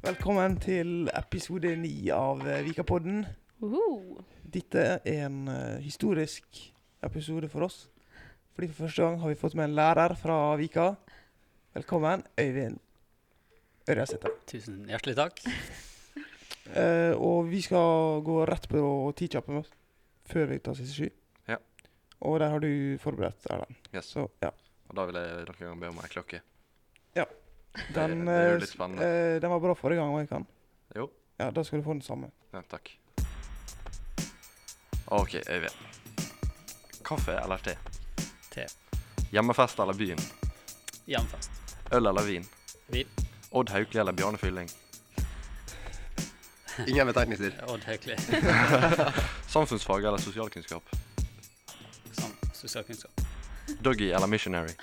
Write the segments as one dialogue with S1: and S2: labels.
S1: Velkommen til episode ni av eh, Vikapodden.
S2: Uhu.
S1: Dette er en eh, historisk episode for oss. Fordi for første gang har vi fått med en lærer fra Vika. Velkommen, Øyvind Ørjasæter.
S3: Tusen hjertelig takk.
S1: Eh, og vi skal gå rett på tidkjappen vår før vi tar siste sky.
S4: Ja.
S1: Og der har du forberedt Erlend.
S4: Yes.
S1: Så ja.
S4: Og da vil jeg noen gang be om ei klokke.
S1: Den,
S4: det er jo
S1: eh,
S4: litt spennende.
S1: eh, den var bra forrige gang, var jeg kan.
S4: Jo.
S1: Ja, da skal du få den samme.
S4: Ja, takk. OK, Øyvind. Kaffe eller te?
S3: Te.
S4: Hjemmefest eller byen?
S3: Hjemfest.
S4: Øl eller vin?
S3: Vin.
S4: Odd Haukeli eller Bjarne Fylling?
S5: Ingen betegnelser.
S3: Odd Haukeli.
S4: Samfunnsfag eller sosialkunnskap?
S3: Som sosialkunnskap.
S4: Doggy eller missionary?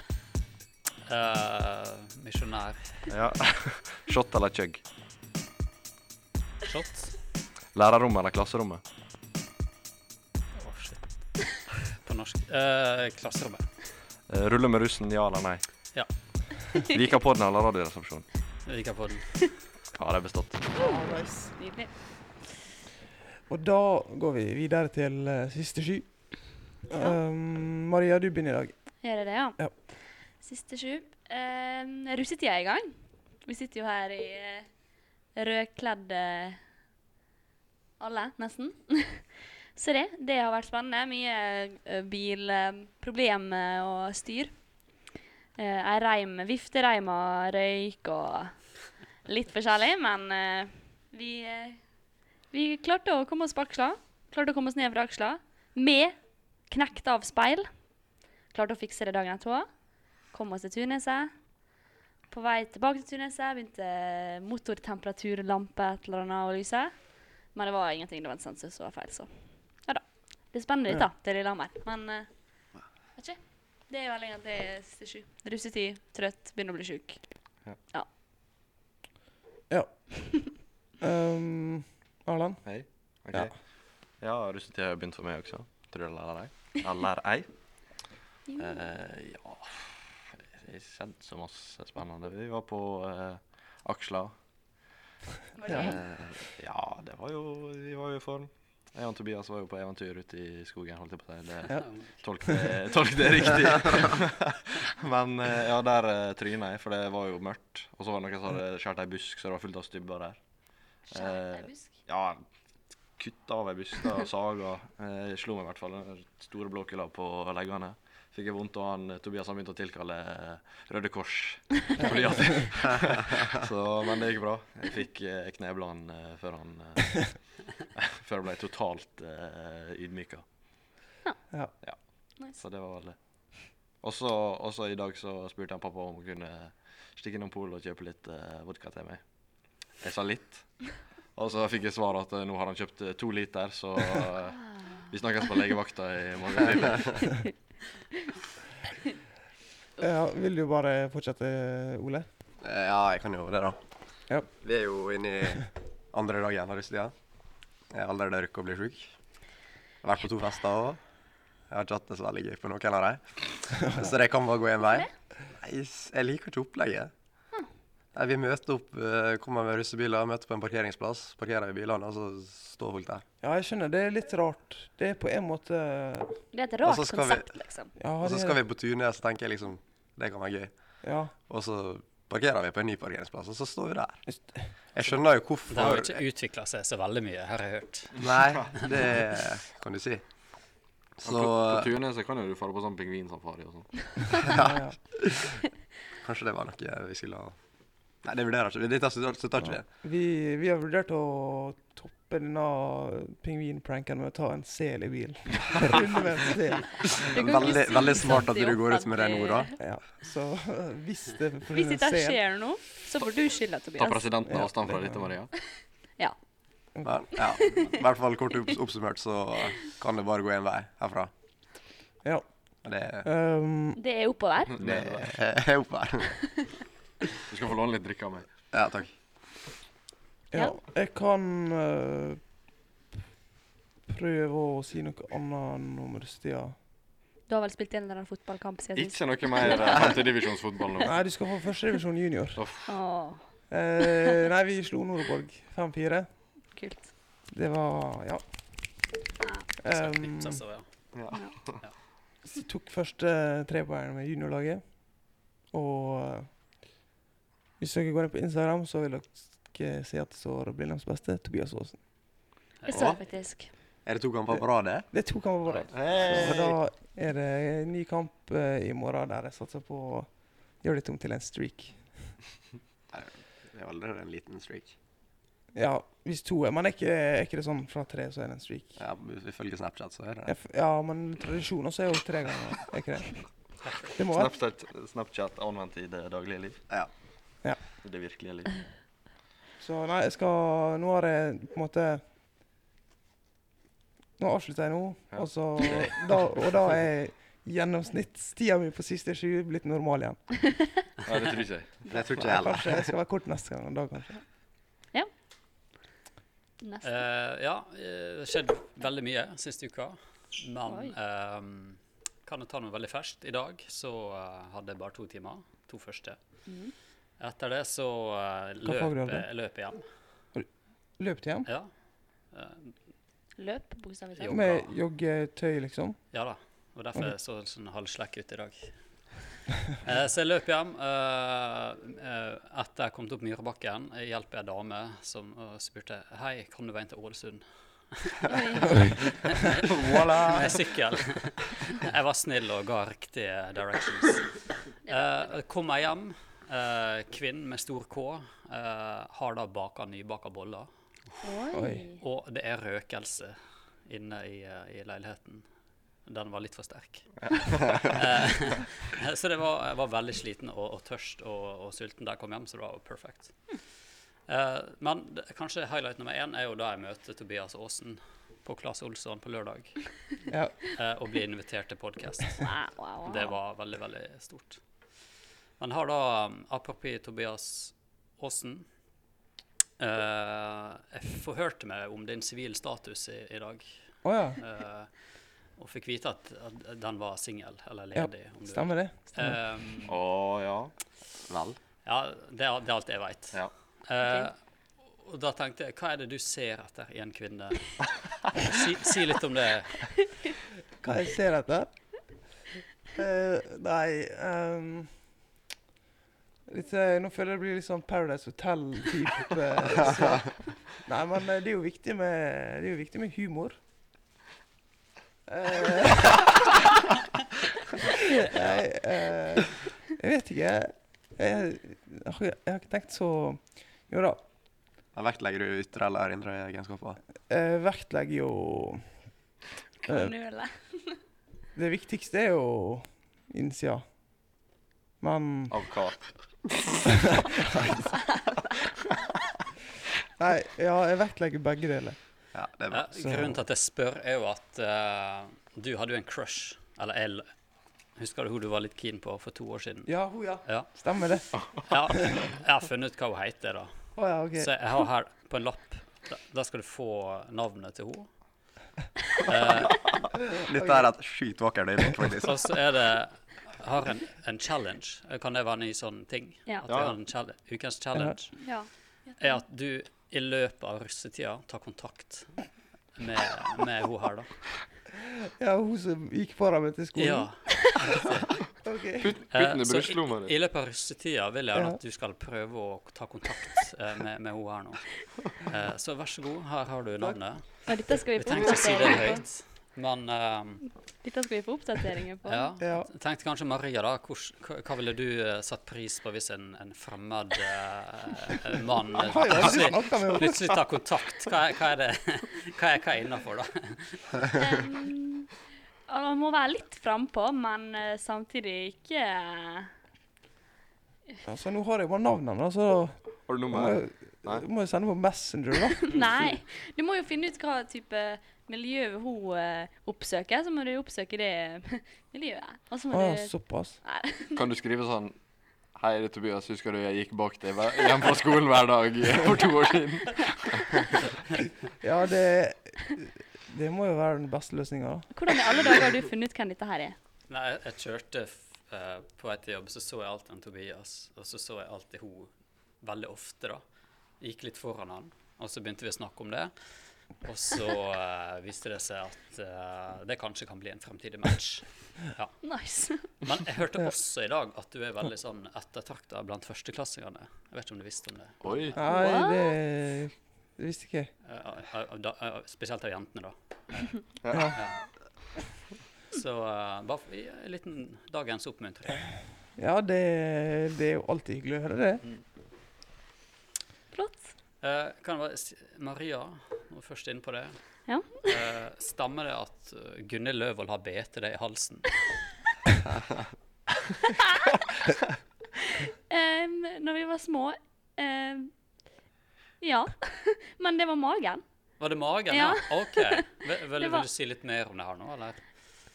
S3: Eh, Misjonær.
S4: Ja. Shot eller chug?
S3: Shot.
S4: Lærerrommet eller klasserommet?
S3: Å, shit. På norsk. Eh, klasserommet.
S4: Eh, Rulle med russen, ja eller nei?
S3: Ja.
S4: Vikapodden eller Radioresepsjonen?
S3: Jeg liker på den.
S4: Ja, det er bestått.
S2: Nydelig.
S1: Og da går vi videre til eh, siste sky. Um, Maria, du begynner i dag.
S2: Gjør jeg det, ja?
S1: Ja.
S2: Siste sju. Um, Russetida er i gang. Vi sitter jo her i eh, rødkledde alle, nesten. Så det. Det har vært spennende. Mye eh, bilproblemer og styr. Eh, Ei reim, viftereim og røyk og litt forskjellig, men eh, vi, eh, vi klarte å komme oss på aksla. Klarte å komme oss ned fra aksla med knekt av speil. Klarte å fikse det dagen etterpå. Kom oss til Tuneset. På vei tilbake til Tuneset begynte motortemperaturlampe et eller annet å lyse. Men det var ingenting. Det var en sensor som var feil, så ja da. Det er spennende litt, da, til Lillehammer. Men eh, vet ikke. Det er vel egentlig siste sju. Russetid, trøtt, begynner å bli sjuk.
S1: Um, Erlend?
S4: Hei. Ok.
S1: Ja.
S4: Ja, russetida har jo begynt for meg også. Tror du det eller ei? Eller ei? Eh, ja Det er kjent så masse spennende. Vi var på eh, Aksla.
S2: Var det gøy?
S4: Eh, ja, det var jo Vi var jo i form. Jeg og Tobias var jo på eventyr ute i skogen, holdt jeg på å si. Det
S1: Ja.
S4: Tolk det, tolk det riktig. Men eh, ja, der uh, tryna jeg, for det var jo mørkt. Og så var det noen som hadde skåret ei busk, så det var fullt av stubber der.
S2: Skjært ei
S4: eh,
S2: busk.
S4: Ja, kutta av ei buste og saga. Eh, slo meg i hvert fall. den Store blå kølla på leggene. Fikk jeg vondt, og han, Tobias han begynte å tilkalle eh, Røde Kors. Fordi at, så, men det gikk bra. Jeg fikk eh, knebla han eh, før han eh, Før jeg ble totalt eh, ydmyka.
S1: Ja.
S2: Nice.
S4: Så det var vel det. Og så og så i dag så spurte han pappa om hun kunne stikke innom Polet og kjøpe litt eh, vodka til meg. Jeg sa litt. Og så fikk jeg svar at eh, nå har han kjøpt eh, to liter, så eh, vi snakkes på legevakta i morgen tidlig.
S1: ja. Vil du bare fortsette, Ole?
S5: Eh, Ja, jeg kan jo det, da.
S1: Ja.
S5: Vi er jo inne i andre dagen av russetida. Jeg har allerede rukket å bli sjuk. Jeg har vært på to fester òg. Jeg har ikke hatt det så veldig gøy på noen av dem. Så det kan bare gå én vei. Nei, s- Jeg liker ikke opplegget. Nei, vi møter opp, eh, kommer med russebiler, møter på en parkeringsplass, parkerer i bilene, og så står folk der.
S1: Ja, jeg skjønner. Det er litt rart. Det er på en måte
S2: Det er et
S5: Og
S2: rart
S5: så skal vi-
S2: konsept, liksom.
S1: Ja,
S5: Og så
S1: det-
S5: skal vi på turné, så tenker jeg liksom Det kan være gøy.
S1: ja.
S5: Og så parkerer vi på en ny parkeringsplass, og så står vi der.
S1: Just-
S5: Jeg skjønner jo hvorfor
S3: Det har jo ikke utvikla seg så veldig mye, har jeg hørt.
S5: Nei, det kan du si. Så
S4: på, på turene så kan jo du fare på sånn pingvinsafari og sånn.
S1: ja, ja.
S5: kanskje det var noe vi skulle ha Nei, det vurderer ikke vi. Dette støtter støtter ikke vi.
S1: Vi, vi har vurdert å toppe denne pingvinpranken med å ta en sel i bilen. Runde med en sel.
S2: Du kan ikke
S5: Mm, Veldig,
S2: si
S5: veldig smart at
S2: sånt i
S5: du går ut med de
S2: offentlig-
S5: orda.
S1: Ja. Så hvis det
S2: Hvis
S1: forsvinner
S2: ikke
S1: en
S2: det
S1: sel
S2: skjer noe, så får du skylda,
S4: Ta
S2: Tobias.
S4: presidenten
S1: Ja,
S4: avstand fra
S1: det-
S4: dette, Maria.
S5: Men ja, i hvert fall kort opps- oppsummert så kan det bare gå én vei herfra.
S1: Ja.
S5: Og Det,
S1: Um,
S2: Det er oppover.
S5: det er opp her.
S4: Du skal få låne litt drikke av meg.
S5: Ja, takk.
S1: Ja, jeg kan eh, prøve å si noe annet enn om russetida.
S2: Du har vel spilt en eller annen fotballkamp siden sist?
S4: Ikke noe mer eh, femtedivisjonsfotball nå.
S1: Nei, du skal få førsterevisjon junior.
S2: Åh.
S1: Eh, nei, vi slo Noreborg 5-4.
S2: Kult.
S1: Det var Ja.
S3: Så
S1: Em,
S3: knipses det, ja.
S5: Ja.
S1: s- tok første trepoengeren med juniorlaget. Og eh, hvis dere går inn på Instagram, så vil dere se at det står Blindhems beste, Tobias Aasen.
S2: Jeg så
S5: Åh.
S2: det faktisk.
S5: Er det to kamper på rad, det?
S1: Det er to kamper på rad. Så da er det en ny kamp eh, i morgen der jeg satser på å gjøre det om til en streak.
S5: Det er allerede en liten streak.
S1: Ja, hvis to er Men er ikke, er ikke det sånn fra tre, så er det en streak?
S5: Ja, Ifølge Snapchat så er det
S1: Jeg
S5: det.
S1: f- Ja, men tradisjoner så er jo tre ganger, er ikke det? Det må være
S4: Snapchat, Snapchat anvendt i det daglige liv.
S5: Ja.
S1: Ja.
S4: I det virkelige liv.
S1: Så nei, jeg skal Nå har jeg på en måte Nå avslutter jeg nå,
S4: Ja.
S1: og så da, Og da er gjennomsnittstida mi på siste sju blitt normal igjen.
S4: Nei, det tror ikke jeg.
S5: Det tror ikke jeg
S1: Nei,
S5: heller.
S1: kanskje jeg skal være kort neste gang. Da kanskje.
S2: Neste.
S3: Eh, ja, eh, det har skjedd veldig mye siste uka.
S2: Oi.
S3: Men ehm, kan jeg ta noe veldig ferskt? I dag så eh, hadde jeg bare to timer. To første.
S2: Mhm.
S3: Etter det så eh,
S1: Hva fag
S3: løp,
S1: du hadde?
S3: jeg- løp jeg hjem.
S1: Løp til hjem
S3: Ja. Eh,
S2: Løp, bokstavelig talt.
S3: Jo.
S1: med joggetøy, liksom.
S3: ja da. Og derfor
S1: Ok.
S3: jeg så sånn halvslekk ut i dag. Eh, så jeg løp hjem. eh, eh, etter jeg kom opp Myrebakken, jeg hjalp ei dame som eh, spurte Hei, kan du veien til Ålesund?
S2: Oi.
S5: Voilà!
S3: Med sykkel. Jeg var snill og ga riktige directions. Eh, kom jeg hjem, eh, kvinn med stor K, eh, har da baka nybaka boller.
S1: Oi.
S2: Oi.
S3: Og det er røkelse inne i, eh, i leiligheten. Den var litt for sterk. Eh, så det var, jeg var veldig sliten og, og tørst og, og sulten da jeg kom hjem, så det var jo perfekt. Eh, men det, kanskje highlight nummer én er jo da jeg møter Tobias Aasen på Claes Olsson på lørdag
S1: Ja.
S3: eh, og blir invitert til podkast.
S2: Wow, wow, wow.
S3: Det var veldig, veldig stort. Men har da um, apropos Tobias Aasen eh, Jeg forhørte meg om din sivil status i, i dag.
S1: Å ja.
S3: eh, og fikk vite at, at den var singel, eller
S1: Ja,
S3: ledig. om du vil.
S1: Stemmer det? Stemmer.
S3: Eh,
S4: Å ja.
S5: Vel.
S3: ja, det er, det er alt jeg veit.
S4: Ja.
S3: og da tenkte jeg, hva er det du ser etter i en kvinne? Si, si litt om det.
S1: Hva jeg ser etter? Eh, nei ehm, litt, eh, Nå føler jeg det blir litt sånn Paradise Hotel-type. eh, svar. nei, men eh, det er jo viktig med, det er jo viktig med humor. Eh, jeg, eh, jeg vet ikke. Jeg, jeg, har- jeg har ikke tenkt så Jo da.
S5: Da vektlegger du ytre eller indre egenskaper.
S1: Jeg vektlegger Eh, jo eh,
S2: Knule.
S1: Det viktigste er jo innsida. Men
S4: Av hva?
S1: Nei, ja, jeg vektlegger begge deler.
S5: Ja, det er bra.
S3: Ja, grunnen til at jeg spør, er jo at eh, du hadde jo en crush, eller L. Husker du hun du var litt keen på for to år siden?
S1: Ja, ho, ja. Ah.
S3: Ja.
S1: Stemmer det.
S3: ja jeg har funnet ut hva hun heter, da.
S1: Å ja, OK.
S3: Så jeg har her på en lapp. Da, da skal du få navnet til henne. Eh,
S5: Dette er et sjukt vakkert øyeblikk, faktisk.
S3: og så er det har en, en challenge. Kan det være en ny sånn ting?
S2: Ja.
S3: At vi har en challenge, ukens challenge
S2: Ja.
S3: er at du i løpet av russetida tar kontakt med, med hun her, da.
S1: Ja, hun som gikk foran meg til skolen?
S3: Ja.
S1: Ja. OK.
S4: Putt, putt den
S3: Eh,
S4: i
S3: så
S4: brystlomma
S3: I
S4: di.
S3: løpet av russetida vil jeg
S1: Ja.
S3: at du skal prøve å ta kontakt eh, med, med henne her nå. Eh, så vær så god, her har du navnet.
S2: Og dette skal vi
S3: Vi
S2: få
S3: tenkte å si det
S2: oppdateringer på.
S3: høyt, men eh,
S2: Dette skal vi få oppdateringer på.
S3: ja.
S1: Ja.
S3: Jeg tenkte kanskje Maria, da. Hors, hva, hva ville du eh, satt pris på hvis en, en fremmed eh, eh, mann eh,
S1: Har jo aldri
S3: plutselig,
S1: snakka med henne.
S3: plutselig tar kontakt? Hva, er- hva er det hva er, hva er innafor, da?
S2: Um, man må være litt frampå, men eh, samtidig ikke eh,
S1: Altså, nå har jeg bare navnene, da, så da
S4: Har du
S1: må
S4: nummer?
S1: jeg,
S4: Nei.
S1: da må jeg sende på Messenger, da.
S2: Nei. Du må jo finne ut hva type miljø hun eh, oppsøker, så må du oppsøke det miljøet. Og
S1: Å
S2: så må
S1: ja,
S2: du
S1: Ah, såpass.
S2: Nei.
S4: Kan du skrive sånn Hei, det er Tobias. Husker du jeg gikk bak deg hver- hjem fra skolen hver dag for to år siden?
S1: Ja, det Det må jo være den beste løsninga, da.
S2: Hvordan i alle dager har du funnet ut hvem dette her er?
S3: Nei, jeg, jeg kjørte f- eh, på vei til jobb, så så jeg alltid en Tobias, og så så jeg alltid hun veldig ofte, da. Gikk litt foran han, og så begynte vi å snakke om det. Og så eh, viste det seg at eh, det kanskje kan bli en fremtidig match. Ja.
S2: Nice.
S3: Men jeg hørte også i dag at du er veldig sånn ettertrakta blant førsteklassingene. Jeg vet ikke om du visste om det?
S4: Oi.
S1: Nei,
S2: What?
S1: det det visste ikke jeg.
S3: Eh, eh, eh, da- eh, Spesielt av jentene, da.
S4: Ja.
S3: Så eh, bare for- i- en liten dagens oppmuntring.
S1: Ja, det, det er jo alltid hyggelig å høre det.
S2: Flott.
S3: Eh, kan jeg bare si, Maria, når vi først er inne på det.
S2: Ja.
S3: Eh, stemmer det at eh, Gunhild Løvold har bitt deg i halsen?
S2: Um, når vi var små ehm, Ja. Men det var magen.
S3: Var det magen?
S2: Ja.
S3: OK. Vil, vil,
S2: Det
S3: vil
S2: var-
S3: du si litt mer om det her nå, eller?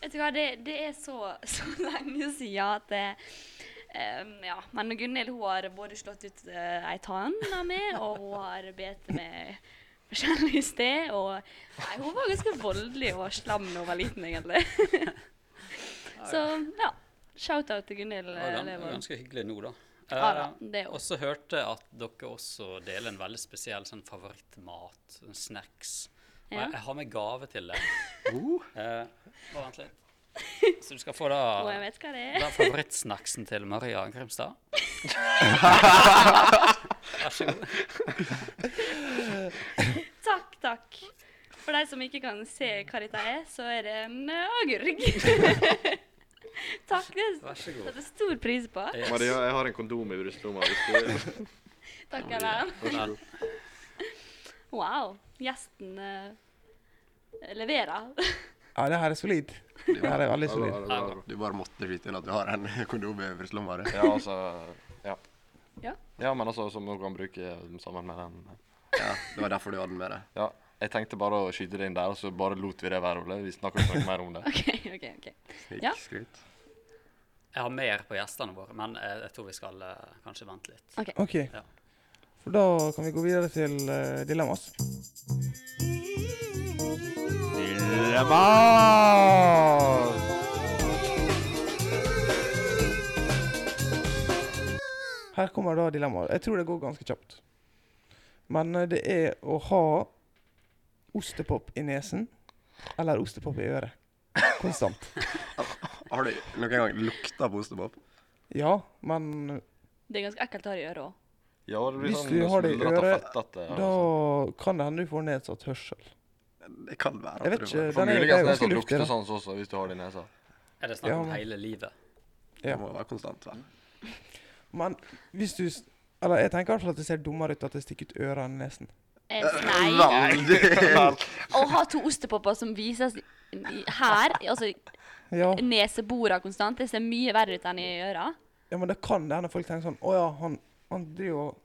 S2: Vet du hva, det, det er så, så lenge siden at det ehm, Ja. Men Gunhild hun har både slått ut eh, ei tann av meg, og hun har bitt meg forskjellig sted. Og nei, hun var ganske voldelig og slam da hun var liten, egentlig. så ja. Shout-out til Gunhild.
S3: Det var
S2: eh,
S3: gans-
S2: Levold.
S3: ganske hyggelig nå, da.
S2: Ja da,
S3: Eh,
S2: det er jo-
S3: og så hørte jeg at dere også deler en veldig spesiell sånn favorittmat, sånn snacks. Og
S2: Ja.
S3: jeg, jeg har med gave til deg.
S5: Uh,
S3: Eh, bare vent litt. Så du skal få
S2: Og jeg
S3: da
S2: vet hva det er.
S3: den favorittsnacksen til Maria Grimstad. Vær så god.
S2: Takk, takk. For de som ikke kan se hva dette er, så er det en eh, agurk. takk. Det
S3: Vær så god.
S2: setter jeg stor pris på.
S3: Yes.
S4: Maria, jeg har en kondom i brystlomma. hvis du vil.
S2: Takk, Ellen.
S4: Vær så god.
S2: Wow. Gjesten eh, leverer.
S1: Ja, det her er solid. Det her er veldig
S4: Ha det
S1: solid.
S4: bra, ha det bra, ha det bra.
S5: Du bare måtte skyte inn at du har en kondom i brystlomma di.
S4: Ja, altså ja.
S2: Ja.
S4: ja, men altså, som man kan bruke sammen med den
S5: Ja, det var derfor du hadde den med deg.
S4: Ja, jeg tenkte bare å skyte det inn der, og så bare lot vi det være, Ole. Vi snakker ikke noe mer om det.
S2: OK, OK. ok. Ja.
S5: Snikskryt.
S3: Jeg har mer på gjestene våre, men jeg, jeg tror vi skal eh, kanskje vente litt.
S1: OK.
S3: Ja.
S1: For da kan vi gå videre til eh, dilemmas.
S4: Dilemmas!
S1: Her kommer da dilemmaet. Jeg tror det går ganske kjapt. Men eh, det er å ha ostepop i nesen eller ostepop i øret. Konstant.
S5: Har du noen gang lukta på ostepop?
S1: Ja, men
S2: Det er ganske ekkelt å ha i øret òg.
S4: Ja, det blir
S1: Hvis
S4: sånn
S1: du har det i
S4: smuldrete og
S1: øret,
S4: fettete. og
S1: da
S4: sånn.
S1: kan det hende du får nedsatt hørsel.
S5: Det kan være.
S1: Jeg
S5: at
S1: vet
S5: du får-
S1: den
S4: For
S1: er-
S4: muligens
S1: det er
S4: er det
S1: ganske
S4: sånn
S1: luftig, da.
S4: luktesans også, hvis du har det i nesa.
S3: Er det snakk
S1: Ja,
S3: om
S1: men-
S3: hele livet?
S5: Det må være konstant. Vel?
S1: Men hvis du s- Eller jeg tenker i hvert fall at det ser dummere ut at det stikker ut øret enn nesen.
S2: Eh,
S1: Eh,
S2: Nei. Å ha to ostepopper som vises i- her, altså
S1: Ja,
S2: nesebora konstant, det ser mye verre ut enn i øra.
S1: ja men det kan det hende folk tenker sånn Å ja, han, han driver og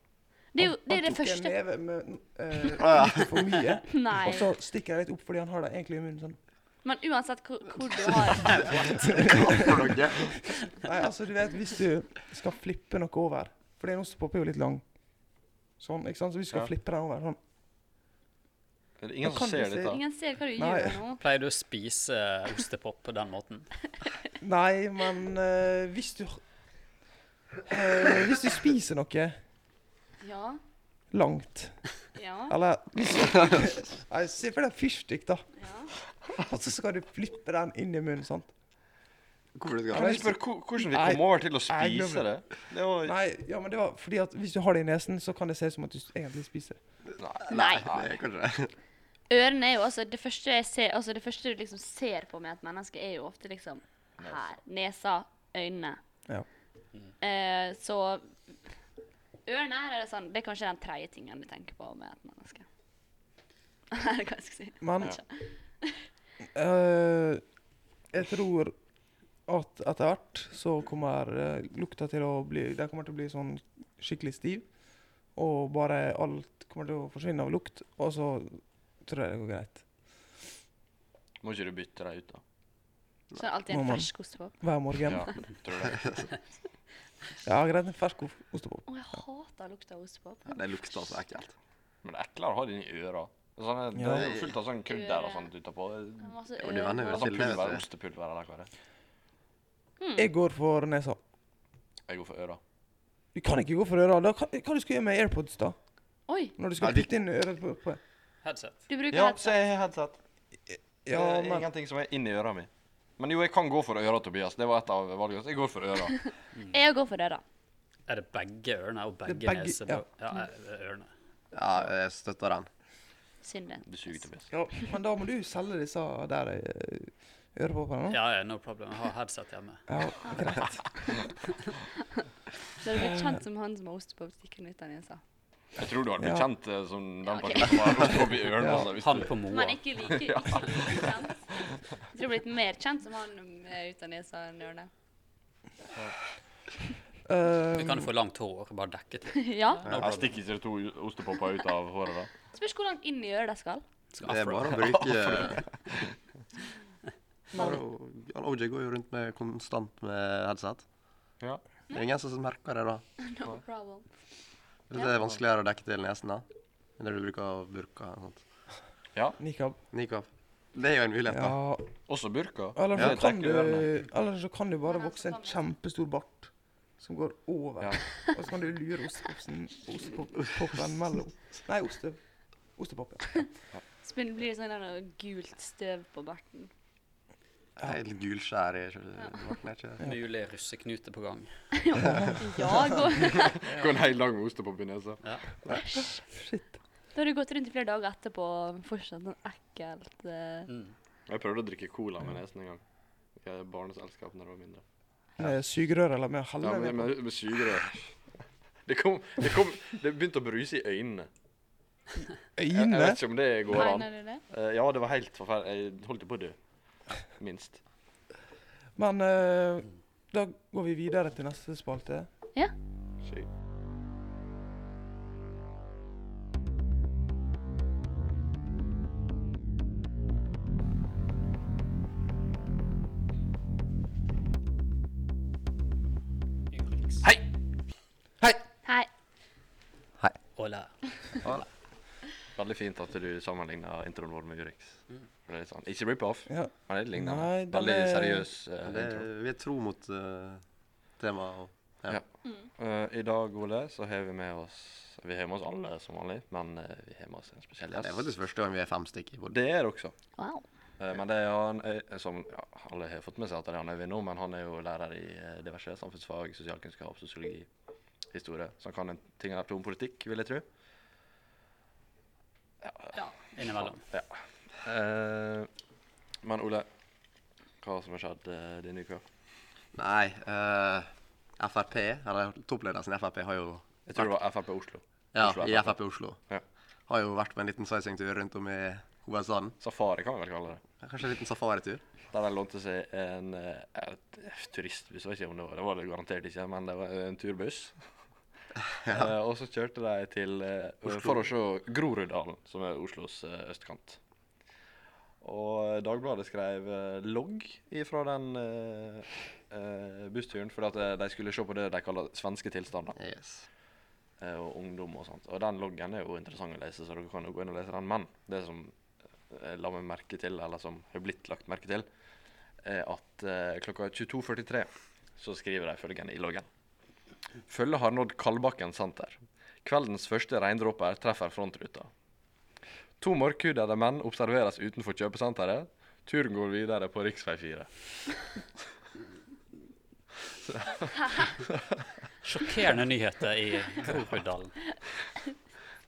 S2: Det er jo det,
S1: han
S2: er det
S1: tok en
S2: første
S1: neve med eh, litt for mye,
S2: Nei.
S1: og så stikker det litt opp fordi han har det egentlig i munnen sånn.
S2: Men uansett hvor, hvor du har
S1: Nei, altså, du vet, hvis du skal flippe noe over For en ostepop er jo litt lang. Sånn, ikke sant? Så hvis du skal
S4: Ja.
S1: flippe den over sånn
S4: Er det
S1: Da
S4: ingen
S1: kan
S4: som
S1: du
S4: ser
S1: si-
S4: dette?
S2: Ingen ser hva
S1: Nei.
S2: du gjør nå.
S3: Pleier du å spise eh, ostepop på den måten?
S1: Nei, men eh, hvis du eh, Hvis du spiser noe
S2: Ja.
S1: langt
S2: Ja.
S1: Eller Nei, Se for deg en fyrstikk, da.
S2: ja.
S1: Og så skal du flippe den inn i munnen. sant?
S5: Hvorfor du skal
S4: Kan jeg spørre hvor- hvordan vi
S1: Nei.
S4: kom over til å
S1: Nei, glem
S4: spise det? Det var
S1: Nei, ja, men det var fordi at hvis du har det i nesen, så kan det se ut som at du s- egentlig spiser.
S2: Nei.
S5: Det er kanskje det.
S2: Ørene er jo altså det første jeg ser, altså det første du liksom ser på med et menneske, er jo ofte liksom her. Nesa, øynene.
S1: Ja.
S2: Eh, så ørene her er det sånn Det er kanskje den tredje tingen du tenker på med et menneske. Eller hva jeg skal si.
S1: Men eh, jeg tror at etter hvert så kommer eh, lukta til å bli Den kommer til å bli sånn skikkelig stiv. Og bare alt kommer til å forsvinne av lukt. Og så tror jeg det går greit.
S4: Må ikke du bytte deg ut, da?
S2: Så er det alltid en
S1: Mamma.
S2: fersk ostepop.
S1: Hver morgen.
S4: Ja,
S1: Ja,
S4: tror du det?
S1: greit. En fersk of- ostepop.
S2: Å, jeg hater lukta av ostepop.
S5: Ja, Det lukter så ekkelt.
S4: Men det er eklere å ha det inni øra. Sånn, det
S1: Ja.
S4: er jo fullt av sånn krydder og sånt utapå.
S2: Det er masse
S5: Ja, men de venner
S2: ører.
S5: jo
S4: Sånn
S5: til det, vet
S4: pulver,
S5: du.
S4: ostepulver eller hva det er.
S1: Jeg går for nesa.
S4: Jeg går for øra.
S1: Du kan ikke gå for øra. Da, hva, hva du skal du gjøre med AirPods, da?
S2: Oi,
S1: Når du skal
S4: Nei, de-
S1: putte inn øret på, på
S3: Headset.
S2: du bruker
S4: Ja, så
S2: headset.
S4: jeg har headset.
S1: Ja,
S4: det er
S1: men
S4: ingenting som er inni øra mi. Men jo, jeg kan gå for øra, Tobias. Det var et av valgene. Jeg går for øra.
S2: Jeg går for det, da.
S3: Er det begge ørene og begge,
S1: Det er begge-
S3: nese-
S1: ja.
S3: Ja, eh, ørene.
S5: Ja, jeg støtter den.
S2: Synd det.
S4: Du suger, Tobias.
S1: ja, Men da må du selge disse der eh, øreproppene, da.
S3: Ja, ja, no problem. Jeg har headset hjemme.
S1: Ja, greit.
S2: Så du blir kjent som han som har ostepopstikken uten nesa.
S4: Jeg tror du hadde blitt
S1: Ja.
S4: kjent eh, som
S2: Ja,
S4: den
S2: ok.
S4: personen som har ropt opp i ørene.
S1: Ja.
S4: Altså, hvis
S3: Han
S4: du-
S3: på Moa.
S2: Men ikke like, ikke like kjent. Jeg tror jeg blir litt mer kjent som han eh, uten nesa enn ørene.
S3: Du kan jo
S1: Um,
S3: få langt hår og bare dekke til.
S2: ja.
S3: No
S4: Jeg
S3: problem.
S4: stikker ikke to ostepopper ut av håret, da.
S2: Spørs hvor langt inn i øret det skal.
S3: Skal
S5: Det er
S3: afro.
S5: bare å bruke Bare å- Han OJ går jo rundt med konstant med headset.
S4: Ja.
S5: Det er ingen som merker det, da.
S2: No problem.
S5: Det er vanskeligere å dekke til nesen, da. Enn det du bruker av burka. og sånt.
S1: Nikab.
S5: Nikab. Det er jo en mulighet, da.
S1: Ja.
S4: Også burka.
S1: Eller så,
S4: Det
S1: kan
S4: dekker ørene.
S1: du, eller så kan du bare
S2: Men han
S1: vokse en
S2: skal
S1: kjempestor bart som går over. Og så kan du lure ostepopsen ostepoppen mellom Nei, oste, ostepop. Ja.
S2: Så begynner det å bli sånn der noe gult støv på barten.
S5: Helt gulskjær i kjø- er ikke det?
S3: Mulig russeknute på gang.
S2: Ja, gå.
S4: Gå en hel dag med ostepop i nesa.
S3: Ja.
S1: Shit.
S2: Da har du gått rundt i flere dager etterpå og fortsatt sånn ekkelt eh,
S3: Mm.
S4: Jeg prøvde å drikke cola med nesen en gang. I et barneselskap da jeg var mindre.
S1: Med sugerør Eh, eller med å
S4: Ja,
S1: helle
S4: med,
S1: ned på?
S4: med, med sugerør. Det kom, det kom Det begynte å bruse i øynene. Jeg, jeg
S1: øynene?
S4: vet ikke om det går an.
S2: Mener du det?
S4: Eh, Ja, det var helt forferdelig. Jeg holdt jo på å dø. Minst.
S1: Men eh, da går vi videre til neste spalte.
S4: Shit.
S3: Yndlings.
S4: Hei!
S1: Hei!
S2: Hei.
S3: Hola.
S4: Veldig fint at du sammenligna introen vår med Urix. Det er litt sånn. Ikke rip-off,
S1: Ja.
S4: men det ligner.
S1: Nei, den
S4: Veldig
S1: er-
S4: seriøs eh,
S5: Men det
S4: intro.
S5: er- Vi er tro mot eh, temaet og
S4: Ja. Eh, I dag, Ole, så har vi med oss Vi har med oss alle som vanlig, men eh, vi har med oss en spesiell
S5: Det er faktisk
S4: gjest.
S5: første gang vi er fem stykker i både.
S4: Det er det også.
S2: Wow.
S4: Eh, Men det er han eh, som ja, alle har fått med seg at det er han Øyvind nå, men han er jo lærer i eh, diverse samfunnsfag, sosialkunnskap, sosiologi, historie. Så han kan en ting eller to om politikk, vil jeg tro.
S3: Ja, innimellom.
S4: Ja. Eh, men Ole, hva som har skjedd eh, denne uka?
S5: Nei, eh, Frp, eller toppledersen i Frp, har jo
S4: Jeg tror det var Frp Oslo.
S5: Ja,
S4: Oslo
S5: i
S4: FrP.
S5: Frp Oslo.
S4: Ja.
S5: Har jo vært på en liten sightseeingtur rundt om i hovedstaden.
S4: Safari kan vi vel kalle det.
S5: Kanskje en liten safaritur.
S4: Der de lånte seg en eh, et turistbuss, jeg vet ikke om det var det, var det garantert ikke, men det var en turbuss. Eh, og så kjørte de til eh, for å se Groruddalen, som er Oslos eh, østkant. Og Dagbladet skrev eh, logg ifra den eh, eh, bussturen, fordi at eh, de skulle se på det de kaller svenske tilstander.
S5: Yes.
S4: eh, og ungdom og sånt. Og den loggen er jo interessant å lese, så dere kan jo gå inn og lese den. Men det som eh, la meg merke til, eller som har blitt lagt merke til, er at eh, klokka 22.43 så skriver de følgende i loggen. Følget har nådd Kalbakken senter. Kveldens første regndråper treffer frontruta. To mørkhudede menn observeres utenfor kjøpesenteret. Turen går videre på rv. 4.
S3: Sjokkerende nyheter i Groruddalen.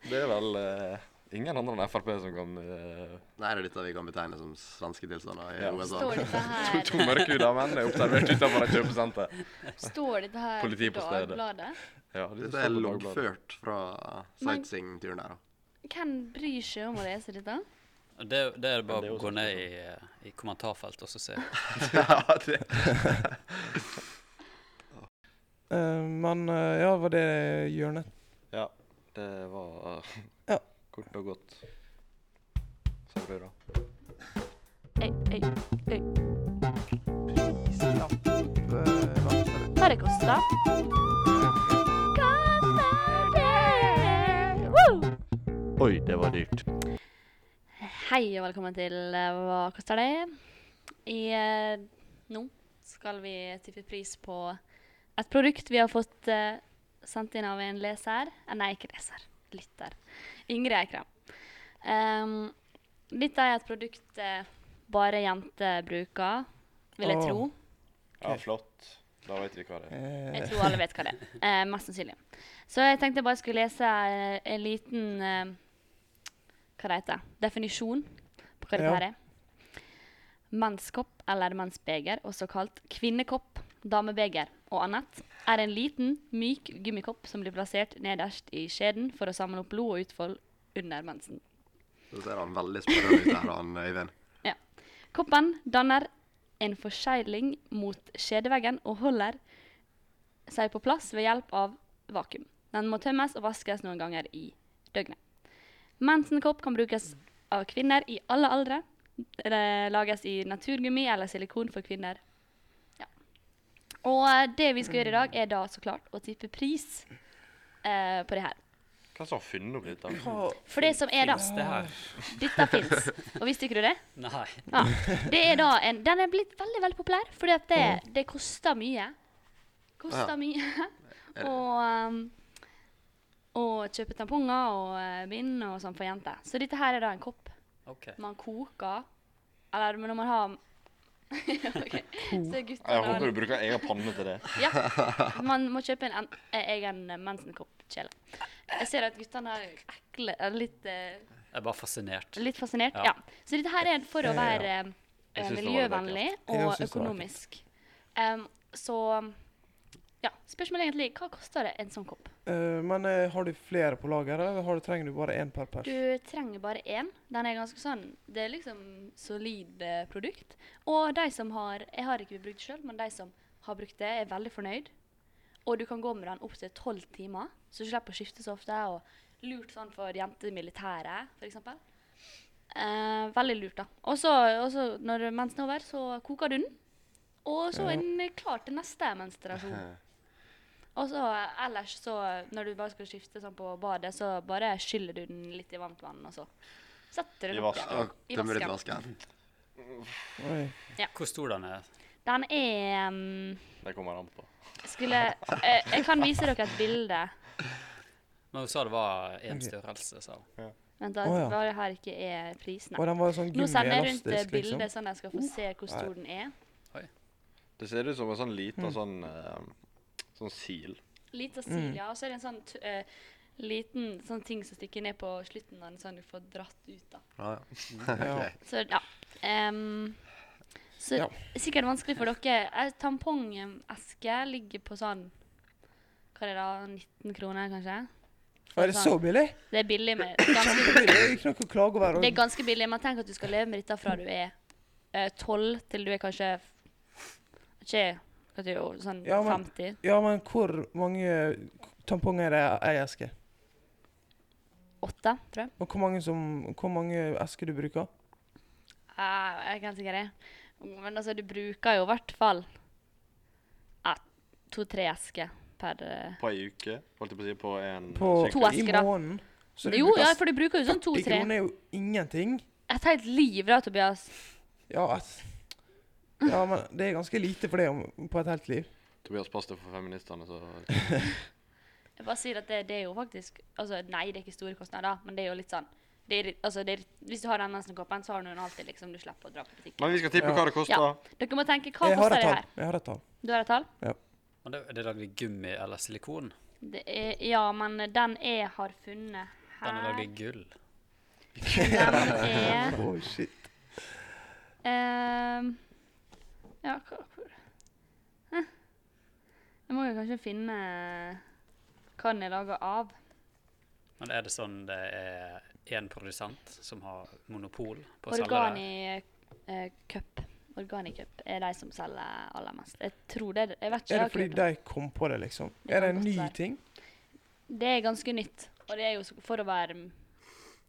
S4: Det er vel eh, ingen andre enn Frp som kan eh,
S5: Nei, det er dette vi kan betegne som svenske tilstander i
S4: Ja.
S2: Står
S5: hovedstaden.
S2: dette
S4: To, to
S2: her,
S4: mørkhuda menn er observert utenfor et kjøpesenter.
S2: står dette her
S4: Politi på stedet.
S2: Dagbladet?
S4: Ja,
S5: Dette er loggført fra
S2: Men-
S5: sightseeingturen der. da.
S2: Hvem bryr seg om å lese dette?
S3: Det, det er
S4: Men det
S3: bare
S4: er
S3: å
S4: jo
S3: gå
S4: sånn
S3: ned i, eh, i kommentarfeltet og så se.
S4: ja, det.
S1: Eh, men eh, ja, var det hjørnet?
S4: ja, det var eh,
S1: Ja.
S4: kort og godt. Så det blir bra.
S2: Ei, ei, ei.
S1: Slapp av.
S2: Hva det koster? Koster det? Woo!
S4: Oi, det var dyrt.
S2: Hei og velkommen til eh, Hva koster det? I eh, Nå skal vi tippe pris på et produkt vi har fått eh, sendt inn av en leser. Eh, nei, ikke leser. Lytter. Ingrid Eikram. Ehm, dette er et produkt eh, bare jenter bruker, vil jeg
S1: Åh.
S2: tro.
S4: Ja, flott. Da vet vi hva det er.
S2: Jeg
S1: Eh,
S2: tror alle vet hva det er. Eh, mest sannsynlig. Så jeg tenkte jeg bare skulle lese eh, en liten eh, Hva det heter Definisjon på hva dette
S1: Ja.
S2: her er. Mannskopp eller mannsbeger, også kalt kvinnekopp, damebeger og annet, er en liten, myk gummikopp som blir plassert nederst i skjeden for å samle opp blod og utfold under mensen.
S5: Så ser han veldig spørrende ut der, han Øyvind.
S2: Ja. Koppen danner en forsegling mot skjedeveggen og holder seg på plass ved hjelp av vakuum. Den må tømmes og vaskes noen ganger i døgnet. Mensenkopp kan brukes av kvinner i alle aldre. Eller lages i naturgummi eller silikon for kvinner. Ja. Og eh, det vi skal gjøre i dag, er da så klart å tippe pris eh, på det her.
S4: Hva som har funnet opp dette?
S1: hva-
S2: For det som er da
S3: Finnes det her?
S2: Dette fins. Og visste ikke du det?
S3: Nei.
S2: Ja. Det er da en, den er blitt veldig veldig populær, fordi at det,
S4: Mm.
S2: det koster mye. Koster
S5: Ja.
S2: mye å um, å kjøpe tamponger og eh, bind og sånn for jenter. Så dette her er da en kopp
S3: OK.
S2: man koker Eller men når man har Ok, Så gutter
S4: Jeg håper du bruker egen panne til det.
S2: Ja. Man må kjøpe en, en, egen mensenkoppkjele. Jeg ser at guttene er ekle er litt, eh,
S3: Jeg er bare fascinert.
S2: litt fascinert.
S3: Ja.
S2: Ja. Så dette her er for å
S1: Ja, ja, ja.
S2: være eh,
S4: Jeg synes det var litt
S2: miljøvennlig
S1: Jeg
S2: og
S1: synes det var
S2: økonomisk. Em, så ja, spørsmålet er egentlig hva koster det en sånn kopp?
S1: eh, men eh, har du flere på lager, eller har du, trenger du bare én per pers?
S2: Du trenger bare én. Den er ganske sånn Det er liksom solid eh, produkt. Og de som har Jeg har ikke brukt det sjøl, men de som har brukt det, er veldig fornøyd. Og du kan gå med den opptil tolv timer, så du slipper å skifte så ofte. Og lurt sånn for jenter i militæret, f.eks. Eh, veldig lurt, da. Og så, og så når mensen er over, så koker du den. Og så er den klar til neste menstruasjon. Og så eh, ellers så Når du bare skal skifte sånn på badet, så bare skyller du den litt i varmt vann, og så setter du
S4: I
S2: den opp
S4: vasken.
S2: igjen.
S5: Og tømmer ut vasken.
S1: Oi.
S3: Hvor stor den er?
S2: Den er mm,
S4: Det kommer an på.
S2: Skulle eh, Jeg kan vise dere et bilde.
S3: Men hun sa det var én størrelse, sa hun.
S2: Vent, da.
S1: Å, ja.
S2: Bare her ikke er prisene.
S1: Og den var sånn
S2: Nå sender jeg rundt eh,
S1: gummi-elastisk, liksom.
S2: bildet, sånn at jeg skal få se hvor stor den er.
S4: Det ser ut som en sånn liten sånn eh, Sånn sil.
S2: Lita Silja,
S1: Mm.
S2: og så er det en sånn t eh, liten sånn ting som stikker ned på slutten av den, sånn du får dratt ut, da.
S5: Ja, ja.
S1: Ja.
S5: Ok.
S2: Så ja. Ehm, så
S1: Ja.
S2: sikkert vanskelig for dere. Eh, Tampongeske ligger på sånn Hva er det da? 19 kroner, kanskje? Sånn.
S1: Er det
S2: Altså,
S1: så billig?
S2: Det er billig, men
S1: Det
S2: ganske,
S1: er ikke noe å klage over. og-
S2: det er ganske billig. Men tenk at du skal leve med dette fra du er eh, 12 til du er kanskje f- Ikke hva du, er, sånn
S1: Ja, men-
S2: 50.
S1: Ja, men hvor mange tamponger er det ei eske?
S2: 8, tror jeg.
S1: Og hvor mange, som, hvor mange esker du bruker?
S2: Eh, jeg er ikke helt sikker. jeg. Men altså, du bruker jo i hvert fall eh, to-tre esker per eh,
S4: På ei uke, holdt jeg på å si, på en
S1: På,
S2: To
S1: I
S2: esker, da.
S1: måneden? Så du
S2: Jo,
S1: bruker
S2: ja, for du bruker jo sånn
S1: 40
S2: to-tre.
S1: kroner er jo ingenting.
S2: Et helt liv da, Tobias.
S1: Ja, ass. ja, men det er ganske lite for det om- på et helt liv.
S4: Tobias, pass deg for feministene, så
S2: Jeg bare sier at det, det er jo faktisk Altså, nei, det er ikke store kostnader, men det er jo litt sånn det er, litt- altså, det er, Hvis du har den mensenkoppen, så har du den alltid, liksom. Du slipper å dra på butikken.
S4: Men vi skal tippe hva det koster.
S2: Ja. Dere må tenke hva
S1: Jeg har
S2: koster
S1: et
S2: det
S1: tall.
S2: her?
S1: Jeg har et tall.
S2: Du har et tall?
S3: Men det, det er lagd i gummi eller silikon.
S2: Det er, ja, men den jeg har funnet
S3: Den er lagd
S2: her
S3: i gull.
S2: Den er
S1: Oh, shit.
S2: ehm, Ja, hva hvor Hæ? Jeg må jo kanskje finne hva den er laga av.
S3: Men er det sånn det er én produsent som har monopol på å selge det?
S2: Organicup. Eh, Cup. Organicup er de som selger aller mest. Jeg tror det. Jeg vet ikke. jeg
S1: Er
S2: har
S1: det fordi
S2: ikke hørt om
S1: de kom på det, liksom?
S2: Det
S1: Er
S2: kan
S1: det en
S2: godt
S1: ny
S2: være.
S1: ting?
S2: det. det er ganske nytt. Og det er jo så- for å være mm,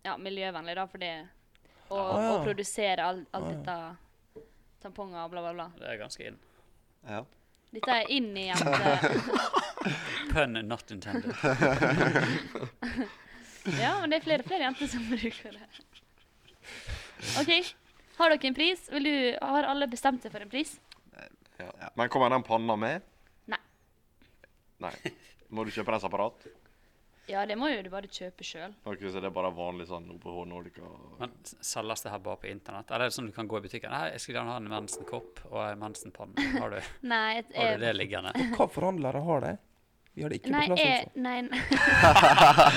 S2: ja, miljøvennlig, da, for det å
S1: Ah,
S2: å
S1: ja.
S2: produsere alt all
S1: Ah, ja.
S2: dette tamponger og bla, bla, bla.
S3: Det er ganske inn.
S5: Ja.
S2: Dette er inn i jenter.
S3: Pun not intended.
S2: Ja, men det er flere og flere jenter som bruker det. OK. Har dere en pris? Vil du, har alle bestemt seg for en pris?
S4: Ja. Men kommer den panna med?
S2: Nei.
S4: Nei. Må du kjøpe renseapparat?
S2: Ja, det må jo du bare kjøpe sjøl.
S4: Ok, så det er bare vanlig sånn OPH Nordica?
S3: Men s- selges det her bare på internett? Eller er det sånn du kan gå i butikken? Nei, jeg skulle gjerne ha en mensenkopp og en mensenpanne. Har du,
S2: Nei, et-
S3: har
S2: eh,
S3: du det liggende?
S1: Hva forhandlere har de? Vi har det ikke
S2: Nei, eh,
S1: på plass.
S2: jeg,
S1: Altså.
S2: nei, nei.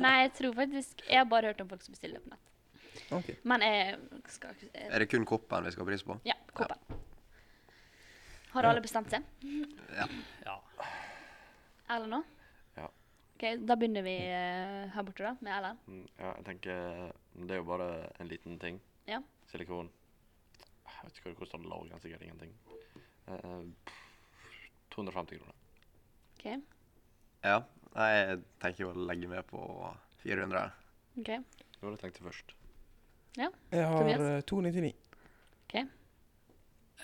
S2: nei, jeg tror faktisk Jeg har bare hørt om folk som bestiller det på nett.
S1: altså. Ok.
S2: Men jeg skal ikke eh,
S5: Er det kun koppen vi skal ha pris på?
S2: Ja, koppen. Har alle bestemt seg?
S3: Ja.
S2: Erlend nå?
S4: Ja.
S2: OK, da begynner vi eh, her borte, da, med Erlend.
S4: Mm, Ja, jeg tenker Det er jo bare en liten ting.
S2: Ja.
S4: Silikon. Jeg vet ikke hva det koster å lage den, sikkert ingenting. Eh, pff, 250 kroner.
S2: OK.
S5: Ja. Nei, jeg tenker jo å legge meg på 400.
S2: ok,
S4: Det var det jeg tenkte først.
S1: Jeg har
S2: Tobias?
S1: eh, 299.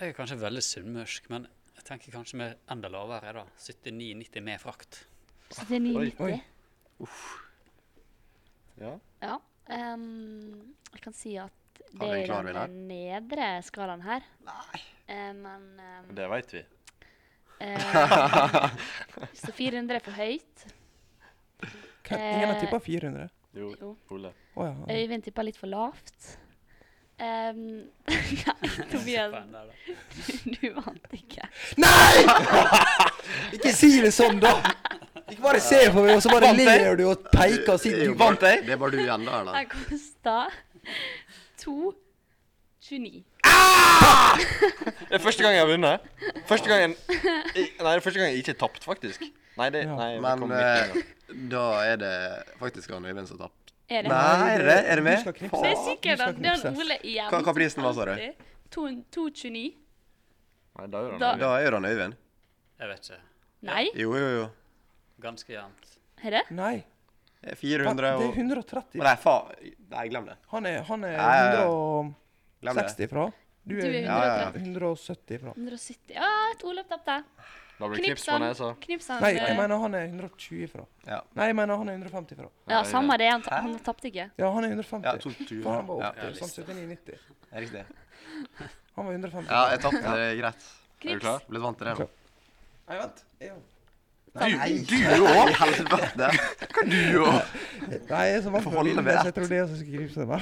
S3: Jeg er kanskje veldig sunnmørsk, men jeg tenker kanskje med enda lavere, er da. 79,90 med frakt.
S2: Så det er 990.
S1: oi.
S4: Ja.
S2: Ja. ehm, jeg kan si at det
S5: Har vi en
S2: er
S5: klar
S2: i den eh, nedre skalaen her.
S5: Nei.
S2: Eh, men ehm,
S4: Det veit vi.
S2: Eh, så 400 er for høyt.
S1: Hva- Ingen har
S2: Eh,
S1: tippa 400?
S4: Jo,
S2: Jo.
S4: Ole.
S1: Å ja.
S2: Øyvind tippa litt for lavt. Em, nei, Tobias,
S3: Poeng der, da.
S2: du vant ikke.
S1: Nei! Ikke si det sånn, da! Ikke bare se på meg, og så bare
S5: Vant jeg?
S1: ler du og peker og sier
S5: Det er
S1: du
S5: jo bare-
S1: vant, jeg!
S5: Det er bare du igjen, da.
S2: Det
S5: eller?
S2: kosta 2,29.
S4: Det er første gang jeg har vunnet. Første gang jeg, i- Nei, det er første gang jeg ikke har tapt, faktisk. Nei, det
S1: Ja.
S4: nei, vi kom
S5: Men
S4: midt i
S5: eh, da er det faktisk han Øyvind som tapte.
S2: Er det?
S5: Nei. er det- er det
S1: du
S5: med?
S1: skal knipse.
S5: Faen.
S2: Det er sikkert
S1: Du skal
S2: at den
S1: knipses.
S2: Ole igjen.
S5: Hva- hva prisen var, sa du?
S2: 2,29.
S4: Nei, da gjør han
S2: Da-
S4: det.
S5: Da er jo han Øyvind.
S3: Jeg vet ikke.
S2: Nei,
S5: Jo, jo, jo.
S3: Ganske jevnt.
S2: er det?
S1: Nei.
S5: Det er
S1: Det
S5: 400
S1: er
S5: og
S1: 130.
S5: Nei, faen. Nei, glem det.
S1: Han er, han er
S5: Ja, ja, ja.
S1: 160
S5: Glem det.
S1: fra. Du
S2: Du
S1: er
S2: er
S5: Ja, ja, ja.
S1: 170 fra.
S2: 170 Ah, et Olav tapte.
S4: Da blir det knips
S2: Knips
S4: på
S2: han.
S4: nesa.
S2: Knips han.
S1: Nei, jeg
S2: eh,
S1: mener han er 120 fra.
S5: Ja.
S1: Nei, jeg mener han er 150 fra.
S2: Ja, samme det. Han, ta- han tapte ikke.
S1: Ja, han er
S5: Ja,
S1: 150.
S5: 220.
S1: Faen, han var
S5: Ja,
S1: 80, sånn 79-90.
S5: riktig.
S1: Han var 150.
S5: Ja, jeg tapte. Det er greit.
S4: Er du
S2: Knips.
S4: klar?
S5: Blitt vant til det nå.
S1: Nei, vent. Jeg òg.
S5: Du òg? I helvete. Hva du òg?
S1: Nei, jeg er så vant
S5: Får
S1: til å
S5: holde
S1: vinne,
S5: med
S1: så jeg
S5: ett.
S1: tror det er jeg som skal knipse meg.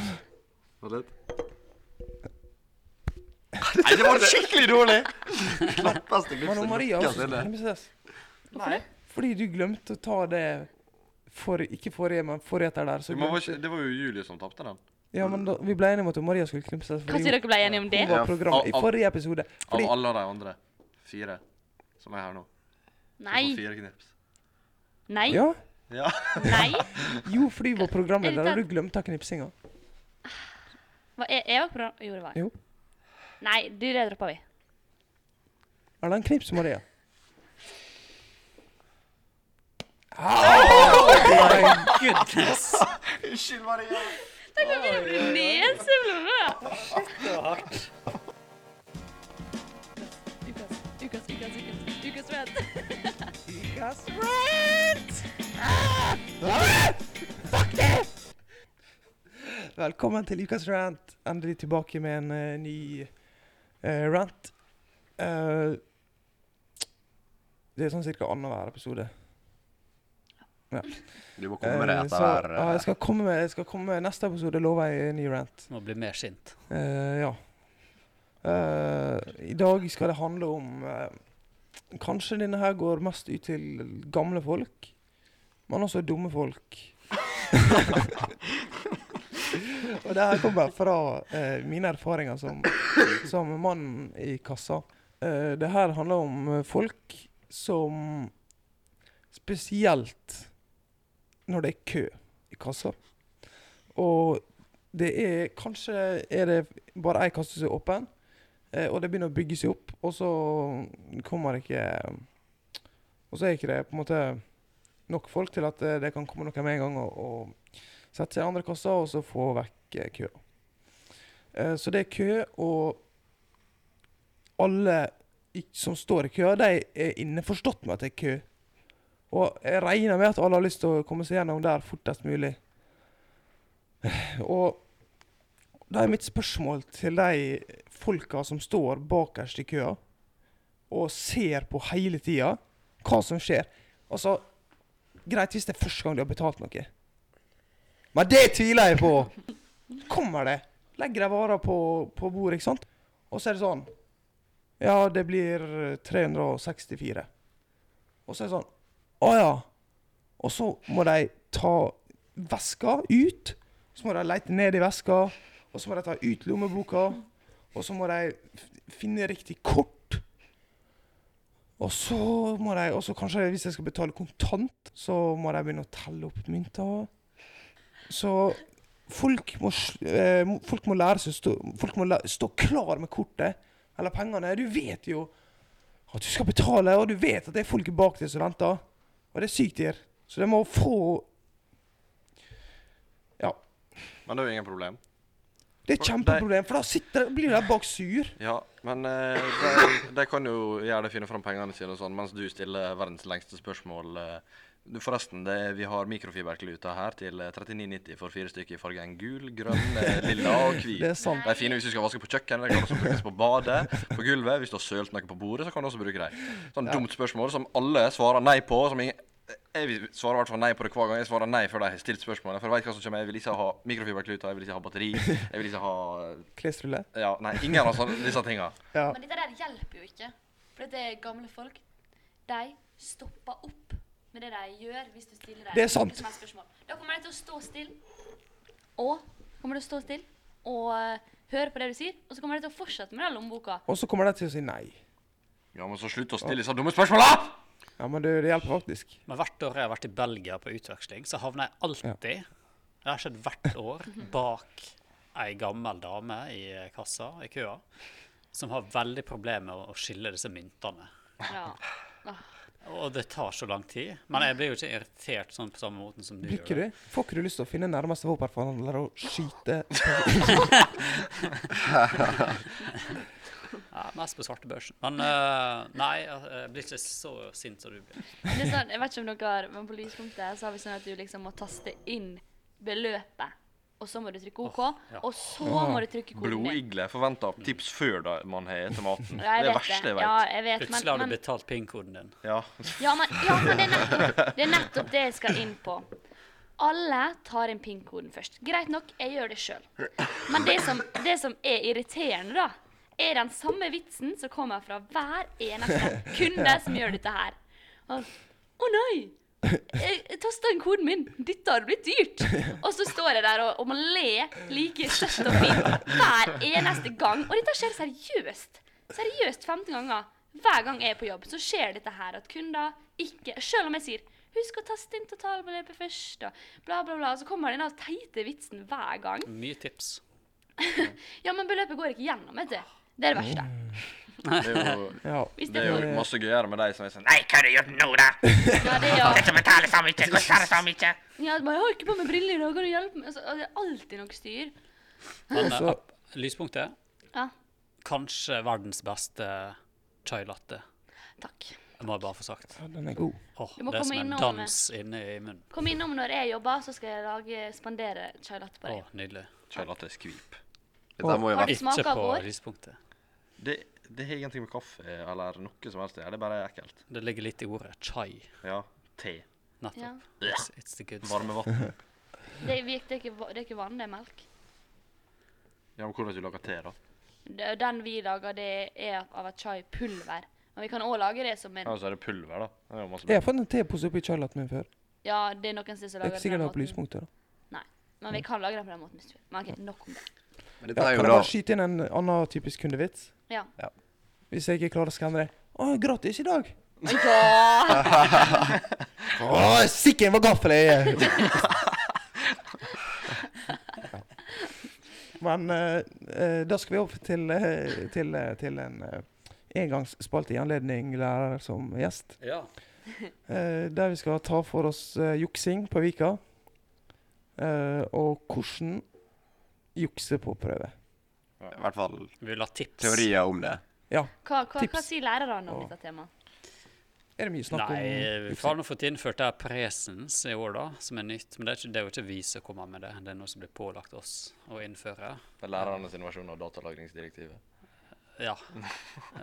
S4: Vent litt.
S5: Nei, det var skikkelig dårlig! Knappeste
S1: Men og
S5: glipset.
S1: Maria
S5: Ja,
S1: også
S5: det er
S1: skal
S5: det.
S1: knipses.
S2: Hvorfor det?
S1: Fordi du glemte å ta det for, Ikke forrige, men forrige etter der. Så
S4: Men var
S1: glemte,
S4: ikke, det var jo Julie som tapte den.
S1: ja, men da, vi ble enige om at Maria skulle knipses.
S2: Hva sier dere ble enige om det?
S1: Hun var
S5: Ja,
S1: programmet i
S4: av- av-
S1: forrige episode.
S4: Av
S1: Fordi,
S4: alle de andre fire som er her nå. som
S2: Nei.
S4: får Fire knips.
S2: Nei.
S1: ja,
S4: Ja.
S2: Nei.
S1: jo, fordi hun var
S2: Er
S1: programleder,
S2: det
S1: og du glemte knipsinga.
S2: Hva, jeg, jeg var på ra- Jo, det var jeg.
S1: Jo.
S2: Nei, du, det droppa vi.
S1: Eller en knips, Maria.
S3: Goodness!
S5: Unnskyld, Maria.
S2: Tenk å begynne å bli neseblod nå! Ukas, ukas, ukas, ukas, ukas rant.
S1: Ukas Velkommen til ukas rant. Endelig tilbake med en eh, ny eh, rant. Eh, det er sånn cirka annenhver episode.
S5: Du må komme med det
S1: Eh,
S5: etter
S1: så,
S5: hver
S1: ja, jeg
S5: eh,
S1: skal komme med, jeg skal komme med neste episode, lover jeg, en ny rant.
S3: Må bli mer sint.
S1: Eh, ja. Eh, I dag skal det handle om eh, Kanskje denne her går mest ut til gamle folk, men også dumme folk. Og det her kommer fra eh, mine erfaringer som, som mann i kassa. Eh, det her handler om eh, folk som Spesielt når det er kø i kassa. Og det er Kanskje er det bare ei kasse som er åpen, eh, og det begynner å bygge seg opp, og så kommer det ikke Og så er ikke det på en måte nok folk til at eh, det kan komme noen med en gang og, og sette seg i andre kassa og så få vekk eh, køa. Eh, Så det er kø, og alle i- som står i køa, de er innforstått med at det er kø. Og jeg regner med at alle har lyst til å komme seg gjennom der fortest mulig. Og da er mitt spørsmål til de folka som står bakerst i køa og ser på hele tida hva som skjer. Altså, greit hvis det er første gang de har betalt noe. Men det tviler jeg på! Kommer det, legger de varer på, på bordet, ikke sant? Og så er det sånn Ja, det blir 364. Og så er det sånn Å ja. Og så må de ta veska ut. Så må de lete ned i veska. Og så må de ta ut lommeboka. Og så må de f- finne riktig kort. Og så må de Og så kanskje hvis jeg skal betale kontant, så må de begynne å telle opp mynter. Så folk må, sl- eh, må- folk må lære seg å stå, folk må læ- stå klar med kortet eller pengene. Du vet jo at du skal betale, og du vet at det er folket bak deg som venter. Og det er sykt dyrt. Så de må få Ja.
S4: Men det er jo ingen problem.
S1: Det er et kjempeproblem, for da sitter, de- blir de bak sur.
S4: Ja, men eh, de, de kan jo gjerne finne fram pengene sine og sånn, mens du stiller verdens lengste spørsmål. eh. Du, forresten, det, vi har mikrofiberkluter her til eh, 39,90 for fire stykker i fargen gul, grønn, eh, lilla og hvit.
S1: Det er sant.
S4: De er fine hvis du skal vaske på kjøkkenet, de kan også brukes på badet, på gulvet. Hvis du har sølt noe på bordet, så kan du også bruke dem. Sånn dumt spørsmål som alle svarer nei på. som ingen... eh, Jeg svarer i hvert fall nei på det hver gang. Jeg svarer nei før de har stilt spørsmålet. For jeg vet hva som kommer. Jeg vil ikke ha mikrofiberkluter, jeg vil ikke ha batteri, jeg vil ikke ha
S1: Klesrulle.
S4: Ja, nei, ingen av sånne- disse tinga.
S1: Ja.
S6: Men dette der hjelper jo ikke. For dette er gamle folk. De stopper opp med det de gjør hvis du stiller dem
S1: Det er sant.
S6: hvilket som helst spørsmål. Da kommer de til å stå stille, og kommer de til å stå stille og eh, høre på det du sier, og så kommer de til å fortsette med den lommeboka.
S1: Og så kommer de til å si nei.
S4: Ja, men så slutt å stille disse dumme spørsmåla!
S1: Ja, men det, det hjelper faktisk.
S3: Men hvert år jeg har vært i Belgia på utveksling, så havner jeg alltid Det har skjedd hvert år bak ei gammel dame i kassa, i køa, som har veldig problemer med å skille disse myntene.
S6: Ja.
S3: Og det tar så lang tid. Men jeg blir jo ikke irritert sånn på samme måten som du
S1: Blir ikke
S3: gjør.
S1: du? Får ikke du lyst til å finne nærmeste våpenforhandler og skyte?
S3: Ja, mest på svartebørsen. Men eh, nei, jeg blir ikke så sint som du blir.
S2: Det er sånn, jeg vet ikke om dere har, men på lyspunktet så har vi sånn at du liksom må taste inn beløpet. Og så må du trykke OK,
S3: ja.
S2: og så må du trykke koden din.
S4: Blodigle forventer tips før da man har til maten.
S2: Ja, jeg
S4: det er
S2: vet
S4: verste jeg
S2: Ja,
S4: vet.
S2: jeg vet, men,
S3: Plutselig har du
S2: men,
S3: betalt pin-koden din.
S4: Ja.
S2: ja, men, ja, men det, er nettopp, det er nettopp det jeg skal inn på. Alle tar inn PIN-koden først. Greit nok, jeg gjør det sjøl. Men det som, det som er irriterende, da, er den samme vitsen som kommer fra hver eneste kunde som gjør dette her. Og, Å nei! Jeg, jeg tasta inn koden min. Dette har blitt dyrt. Og så står jeg der og, og må le like søtt og fint hver eneste gang. Og dette skjer seriøst. Seriøst 15 ganger. Hver gang jeg er på jobb, så skjer dette her at kunder ikke Selv om jeg sier 'husk å taste inn totalbeløpet først', og bla, bla, bla, så kommer denne teite vitsen hver gang.
S3: Mye tips.
S2: Ja, men beløpet går ikke gjennom, vet du. Det er det verste.
S4: Det er jo,
S1: Ja.
S4: Mm, det er jo masse gøyere med de som er sånn
S7: Nei, hva har du gjort nå, da?
S2: Ja, det er jo
S7: Dette betaler så mye, koster så mye.
S2: ja, bare, 'Jeg har ikke på meg briller, da kan du hjelpe meg?' Altså, det er alltid noe styr.
S3: Men eh,
S1: Så-
S3: ap- lyspunktet
S2: Ja.
S3: Kanskje verdens beste chai latte.
S2: Takk.
S3: Det må jeg bare få sagt.
S1: ja, den er god.
S3: Åh,
S2: Du må
S3: det er
S2: komme
S3: som en
S2: innom,
S3: dans inne i munnen.
S2: Kom innom når jeg jobber, så skal jeg lage, spandere chai latte på deg.
S3: Å, nydelig.
S4: Kjell at det er skvip.
S5: Dette må jo
S2: Har
S5: være
S2: du smak
S3: Ikke
S2: av
S3: på
S2: vår?
S3: lyspunktet.
S4: Det, det har ingenting med kaffe eller noe som helst å gjøre. Det er bare ekkelt.
S3: Det ligger litt i ordet chai.
S4: Ja. Te.
S2: Ja.
S3: Nettopp. It's, it's the good stuff.
S4: Varmevann.
S2: Det, vi- det, er ikke, va- det er ikke vann, det er melk.
S4: Ja, men hvordan du lager te, da?
S2: Det- Den vi lager, det er av et chai-pulver. Men vi kan òg lage det som en
S4: Ja, og så er det pulver, da. Det er jo masse
S1: Jeg har fått en tepose oppi kjøleten min før.
S2: Ja, det er noen som
S1: Det er
S2: lager
S1: ikke
S2: det på
S1: sikkert
S2: den
S1: det var på
S2: måten.
S1: lyspunktet. da.
S2: Nei, men vi kan lage det på den måten hvis du vil. Men OK, nok om det.
S5: eh, Men
S1: Ja,
S5: dette
S1: kan
S5: er jo
S1: jeg
S5: da
S1: bare skyte inn en annen typisk kundevits?
S2: Ja.
S1: Hvis jeg ikke klarer å skanne det. Å, gratis i dag!
S2: Ja!
S1: Å, sikker var gaffel jeg er! Ja. Men eh, eh, da skal vi opp til, eh, til, eh, til en eh, engangsspalte i anledning lærer som gjest.
S3: Ja.
S1: Eh, der vi skal ta for oss eh, juksing på Vika. Eh, og hvordan jukse på prøve.
S5: i hvert fall
S3: Vi vil ha tips.
S5: teorier om det.
S2: Hva, hva, hva
S1: Tips.
S2: sier lærerne om dette temaet?
S1: Er det mye snakk
S3: Nei,
S1: om
S3: vi har nå fått innført det her presens i år, da, som er nytt. Men det er, ikke, det er jo ikke vi som kommer med det. Det er noe som blir pålagt oss å innføre.
S4: Det er lærernes versjon av datalagringsdirektivet.
S3: Ja.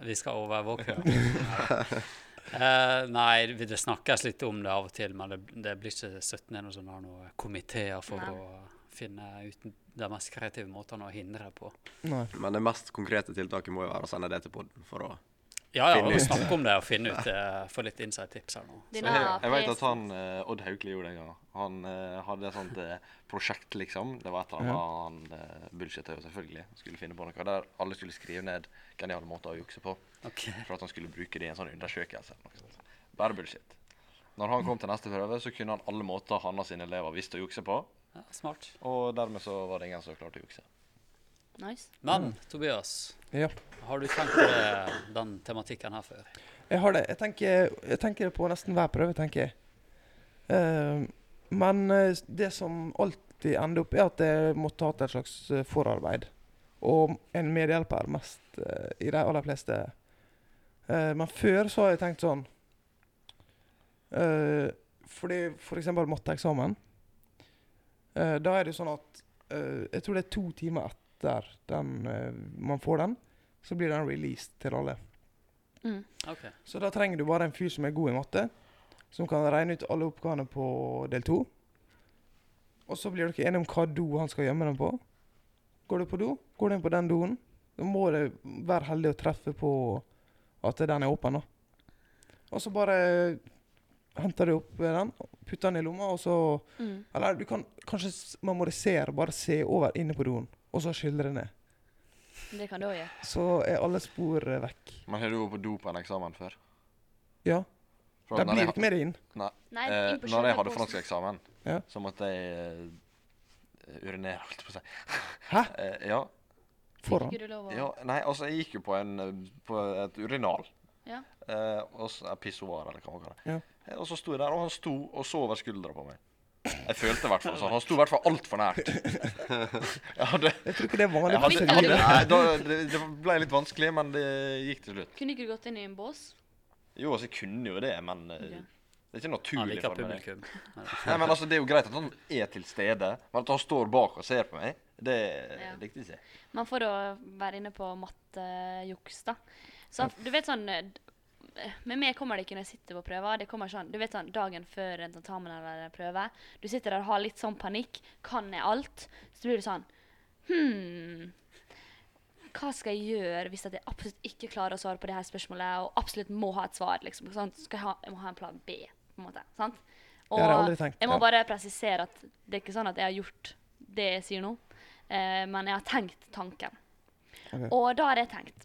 S3: Vi skal overvåke. det. Eh, nei, vi- det snakkes litt om det av og til, men det, det blir ikke 17 eller noe sånn der noe komiteer for
S8: Nei.
S3: å finne ut de mest kreative måtene å hindre på.
S1: Nei.
S5: Men det mest konkrete tiltaket må jo være å sende det til podden for å
S3: Ja, ja, og
S5: Finne ut.
S3: snakke om det og finne ut, eh, få litt insight-tips her nå.
S4: Jeg, jeg vet at han, eh, Odd Haukeli gjorde det en gang. Han eh, hadde et sånt eh, prosjekt, liksom. Det var et eller annet han uh, bullshitta jo selvfølgelig. Skulle finne på noe der alle skulle skrive ned geniale måter å jukse på.
S3: Ok.
S4: For at han skulle bruke det i en sånn undersøkelse. eller noe sånt. Bare bullshit. Når han kom til neste prøve, så kunne han alle måter han og sine elever visste å jukse på.
S3: Ja, smart.
S4: Og dermed så var det ingen som klarte å jukse.
S8: Nice.
S3: Men Tobias,
S1: Ja.
S3: har du tenkt på det, den tematikken her før?
S1: Jeg har det. Jeg tenker, jeg tenker det på nesten hver prøve, tenker jeg. Eh, men eh, det som alltid ender opp, er at jeg måtte hatt et slags eh, forarbeid. Og en medhjelper mest eh, i de aller fleste. Eh, men før så har jeg tenkt sånn eh, Fordi for eksempel matteeksamen. eh, da er det jo sånn at eh, Jeg tror det er to timer etter den, eh, man får den, så blir den released til alle.
S3: Ok.
S1: Så da trenger du bare en fyr som er god i matte, som kan regne ut alle oppgavene på del to. Og så blir dere enige om hva do han skal gjemme dem på. Går du på do, går du inn på den doen. Da må du være heldig å treffe på at den er åpen, da. Og så bare henter du opp den, putter den i lomma, og så
S8: Mm.
S1: Eller du kan kanskje s- memorisere, bare se over inne på doen, og så skyldre ned.
S8: Det kan du òg gjøre.
S1: Så er alle spor eh, vekk.
S4: Men har du vært på do på en eksamen før?
S1: Ja.
S4: For
S1: Da
S4: når
S1: blir
S4: jeg
S1: det ikke mer inn.
S4: ha- Nei.
S2: Nei,
S4: Eh,
S2: inn på
S4: når jeg
S2: selve
S4: hadde
S2: posen.
S4: franskeksamen,
S1: Ja.
S4: så måtte jeg eh, urinere, holdt jeg på å si.
S1: Hæ?
S4: Eh, ja,
S1: Foran.
S2: Ikke du lov å-
S4: ja. Nei, altså, jeg gikk jo på, en, eh, på et urinal.
S2: Ja.
S4: Eh, og så- eh, Pissoar, eller hva man kaller det.
S1: Ja.
S4: Eh, Og så sto jeg der, og han sto og så over skuldra på meg. Jeg følte i hvert fall sånn. Han sto i hvert fall altfor nært. Jeg hadde,
S1: Jeg tror ikke det er vanlig
S4: jeg
S1: på
S4: hadde, jeg hadde,
S1: Sønderliv.
S4: nei, da, det, det ble litt vanskelig, men det gikk til slutt.
S2: Kunne ikke du gått inn i en bås?
S4: Jo, altså, jeg kunne jo det, men eh,
S2: Ok.
S4: det er ikke
S3: Han
S4: naturlig
S3: liker
S4: for meg. det.
S3: publikum.
S4: Nei, men altså, Det er jo greit at han er til stede, men at han står bak og ser på meg, det
S2: Ja.
S4: likte jeg ikke.
S2: Men for å være inne på mattejuks, da. Så du vet sånn eh, d- Med meg kommer det ikke når jeg sitter på prøver. Det kommer sånn, du vet sånn dagen før en tentamen eller en prøve. Du sitter der og har litt sånn panikk. Kan jeg alt? Så blir du sånn Hm. Hva skal jeg gjøre hvis at jeg absolutt ikke klarer å svare på det her spørsmålet, og absolutt må ha et svar? liksom, sånn, skal Jeg ha, jeg må ha en plan B, på en måte. sant? Og
S1: har jeg aldri tenkt,
S2: jeg må
S1: ja.
S2: bare presisere at det er ikke sånn at jeg har gjort det jeg sier nå, eh, men jeg har tenkt tanken.
S1: Ok.
S2: Og da har jeg tenkt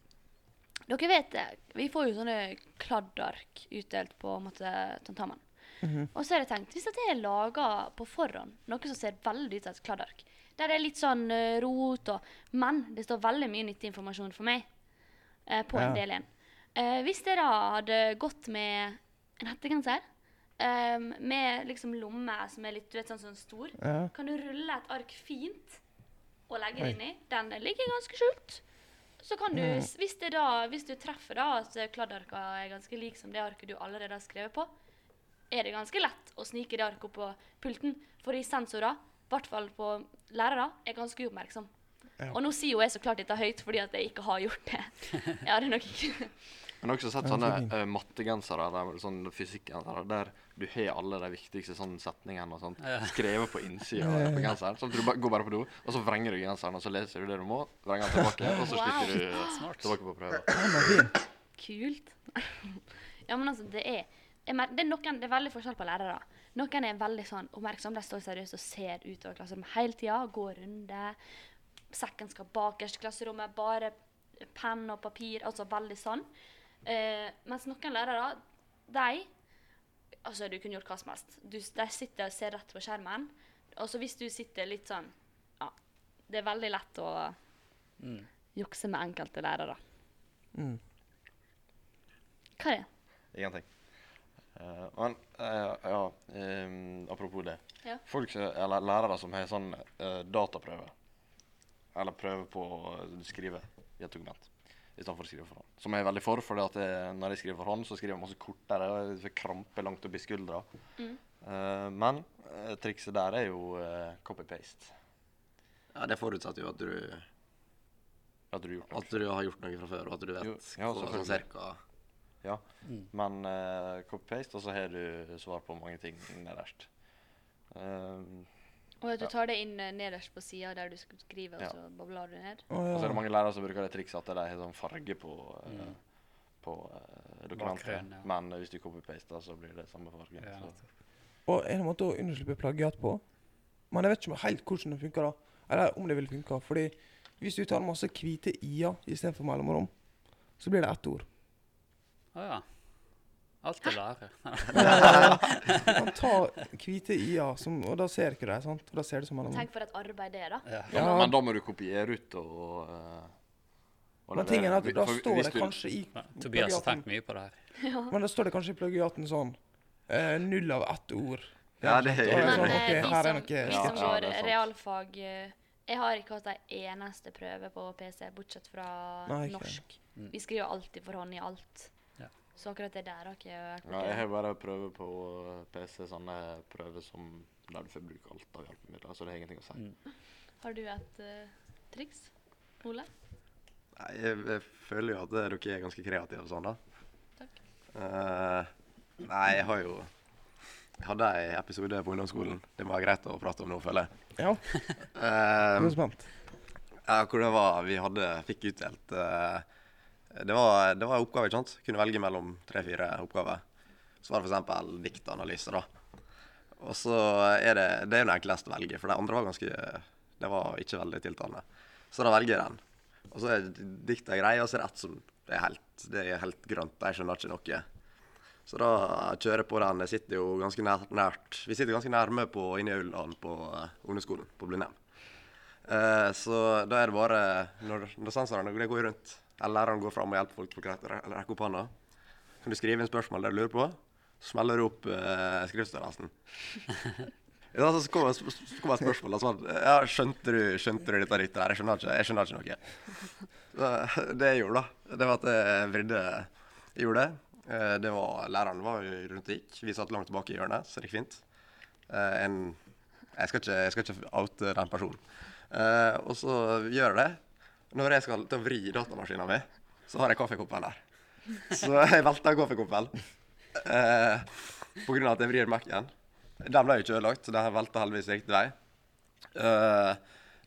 S2: Dere vet det, vi får jo sånne kladdark utdelt på en måte, tentamen.
S1: Mhm.
S2: Og så har jeg tenkt, hvis at jeg lager på forhånd noe som ser veldig ut som et kladdark, der det er litt sånn eh, rot og Men det står veldig mye nyttig informasjon for meg eh, på en
S1: Ja.
S2: del igjen. Eh, hvis jeg da hadde gått med en hettegenser, eh, med liksom lomme som er litt du vet, sånn, sånn stor,
S1: Ja.
S2: kan du rulle et ark fint og legge det inni. Den ligger ganske skjult. Så kan du, s- hvis, det da, hvis du treffer da, at kladdarka er ganske lik som det arket du allerede har skrevet på, er det ganske lett å snike det arket opp på pulten. For i sensorer, i hvert fall på lærere, er ganske uoppmerksom. Og nå sier jo jeg så klart dette høyt fordi at jeg ikke har gjort det. Jeg hadde nok ikke
S4: Men jeg har også sett
S1: Ja,
S4: sånne
S1: så fint.
S4: eh, mattegensere eller sånne fysikkgensere der du har alle de viktigste sånne setningene og sånt skrevet på innsida av genseren. Så du bare, går bare på do, og så vrenger du genseren, og så leser du det du må, vrenger den tilbake, og så
S2: Wow.
S4: stikker du tilbake på prøven.
S2: Kult. ja, men altså, det er jeg mer- det er, noen, det er veldig forskjell på lærere. Noen er veldig sånn oppmerksom, de står seriøst og ser utover klasserommet hele tida. Går runde. Sekken skal bakerst i klasserommet. Bare penn og papir. Altså veldig sånn. Eh, mens noen lærere, de Altså, du kunne gjort hva som helst. Du, de sitter og ser rett på skjermen. Og så hvis du sitter litt sånn Ja, det er veldig lett å jukse med enkelte lærere. Hva er det?
S4: Ingenting. Eh, men eh, ja, ehm, apropos det.
S2: Ja.
S4: Folk, som- eller lærere som har sånn eh, dataprøve, eller prøve på å skrive i et dokument istedenfor å skrive for hånd. Som jeg er veldig for, for når jeg skriver for hånd, så skriver jeg masse kortere og jeg får krampe langt opp i skuldra. Eh, men eh, trikset der er jo eh, copy-paste.
S5: Ja, det forutsetter jo at du,
S4: At du har gjort noe.
S5: at du har gjort noe fra før, og at du vet
S4: Jo, ja,
S5: hva- sånn
S4: selvfølgelig.
S5: cirka
S4: Ja. Men eh, copy-paste, og så har du svar på mange ting nederst. Ehm,
S6: Og at du
S4: Ja.
S6: tar det inn eh, nederst på sida der du skal skrive, og
S4: Ja. Mm.
S6: så bobler du ned.
S1: Å
S4: og så er det
S1: ja. Mm.
S4: mange lærere som bruker det trikset at de har sånn farge på, eh, på eh, dokumentet.
S3: Bakgrunnen, ja.
S4: Men eh, hvis du copy-paster, så blir det samme fargen.
S3: Ja,
S4: så.
S1: Og en måte å unnslippe plagiat på Men jeg vet ikke om helt hvordan det funker, da. Eller om det vil funke. Fordi hvis du tar masse hvite i-er istedenfor mellomrom, så blir det ett ord.
S3: Å ja. Alt er lære.
S1: Du kan ta hvite i-er, som- og da ser ikke de, sant? Og da ser det som mellomrom.
S6: Tenk for et arbeid det er, da.
S4: Ja,
S1: Ja.
S4: men, men da må du kopiere ut og, eh, og
S1: Men tingen er at
S4: levere.
S1: da
S4: For
S1: står
S4: hvis
S1: det
S4: du-
S1: kanskje i
S3: Ja, Tobias har
S1: plagiaten-
S3: tenkt mye på det her.
S1: Men da står det kanskje i plagiaten sånn eh, Null av ett ord.
S4: Ja, det er
S1: Og
S4: jo
S1: sånn,
S6: Men
S1: ok,
S6: eh, vi,
S1: her er
S6: som, vi
S1: noe
S6: som
S4: Ja, ja,
S6: går
S4: det er sant.
S6: realfag eh, Jeg har ikke hatt ei eneste prøve på PC, bortsett fra
S1: Nei, ikke.
S6: norsk.
S4: Mm.
S6: Vi skriver alltid for hånd i alt.
S3: Ja.
S6: Så akkurat det der har ikke jeg vært
S4: Ja,
S6: borti.
S4: jeg har bare prøver på eh, PC, sånne prøver som der du får bruke alt av hjelpemidler. Så det har ingenting å si.
S1: Mm.
S6: Har du et eh, triks, Ole?
S5: Nei, jeg, jeg føler jo at dere er ganske kreative og sånn, da.
S6: Takk.
S5: Eh, nei, jeg har jo Jeg hadde en episode på ungdomsskolen det må være greit å prate om nå, føler jeg.
S1: Ja,
S5: Eh,
S1: jeg er spent.
S5: ja, hvor det var vi hadde, fikk utdelt eh, det, var, det var en oppgave, ikke sant? Kunne velge mellom tre-fire oppgaver. Så var det f.eks. diktanalyse, da. Og så er det Det er jo den enkleste å velge, for de andre var ganske Det var ikke veldig tiltalende. Så da velger jeg den. Og så er diktet grei, og så er det ett som det er helt, det er helt grønt. Jeg skjønner ikke noe. Så da kjører jeg på den. Jeg sitter jo ganske nær, nært Vi sitter ganske nærme på inne i aulaen på eh, ungdomsskolen på Blindheim. Eh, så da er det bare Når, når sensorene de går rundt, eller læreren går fram og hjelper folk, på klatre- eller rekker opp hånda, kan du skrive inn spørsmål der du lurer på, så smeller du opp eh, skriftstørrelsen. Ja, så kommer sp- sp- kommer spørsmålet sånn ja, skjønte, du, 'Skjønte du dette riktig?' her? Jeg skjønner ikke, jeg skjønner ikke noe. Så, det jeg gjorde, da, det var at jeg vridde jeg gjorde det. Eh, det var, læreren var jo rundt og gikk. Vi satt langt tilbake i hjørnet, så det gikk fint. Eh, en, jeg, skal ikke, jeg skal ikke oute den personen. Eh, og så gjør jeg det. Når jeg skal til å vri datamaskinen min, så har jeg kaffekoppen der. Så jeg velter kaffekoppen. Eh, på grunn av at jeg vrir Mac-en. Den ble jo ikke ødelagt, så den velta heldigvis riktig vei. Eh,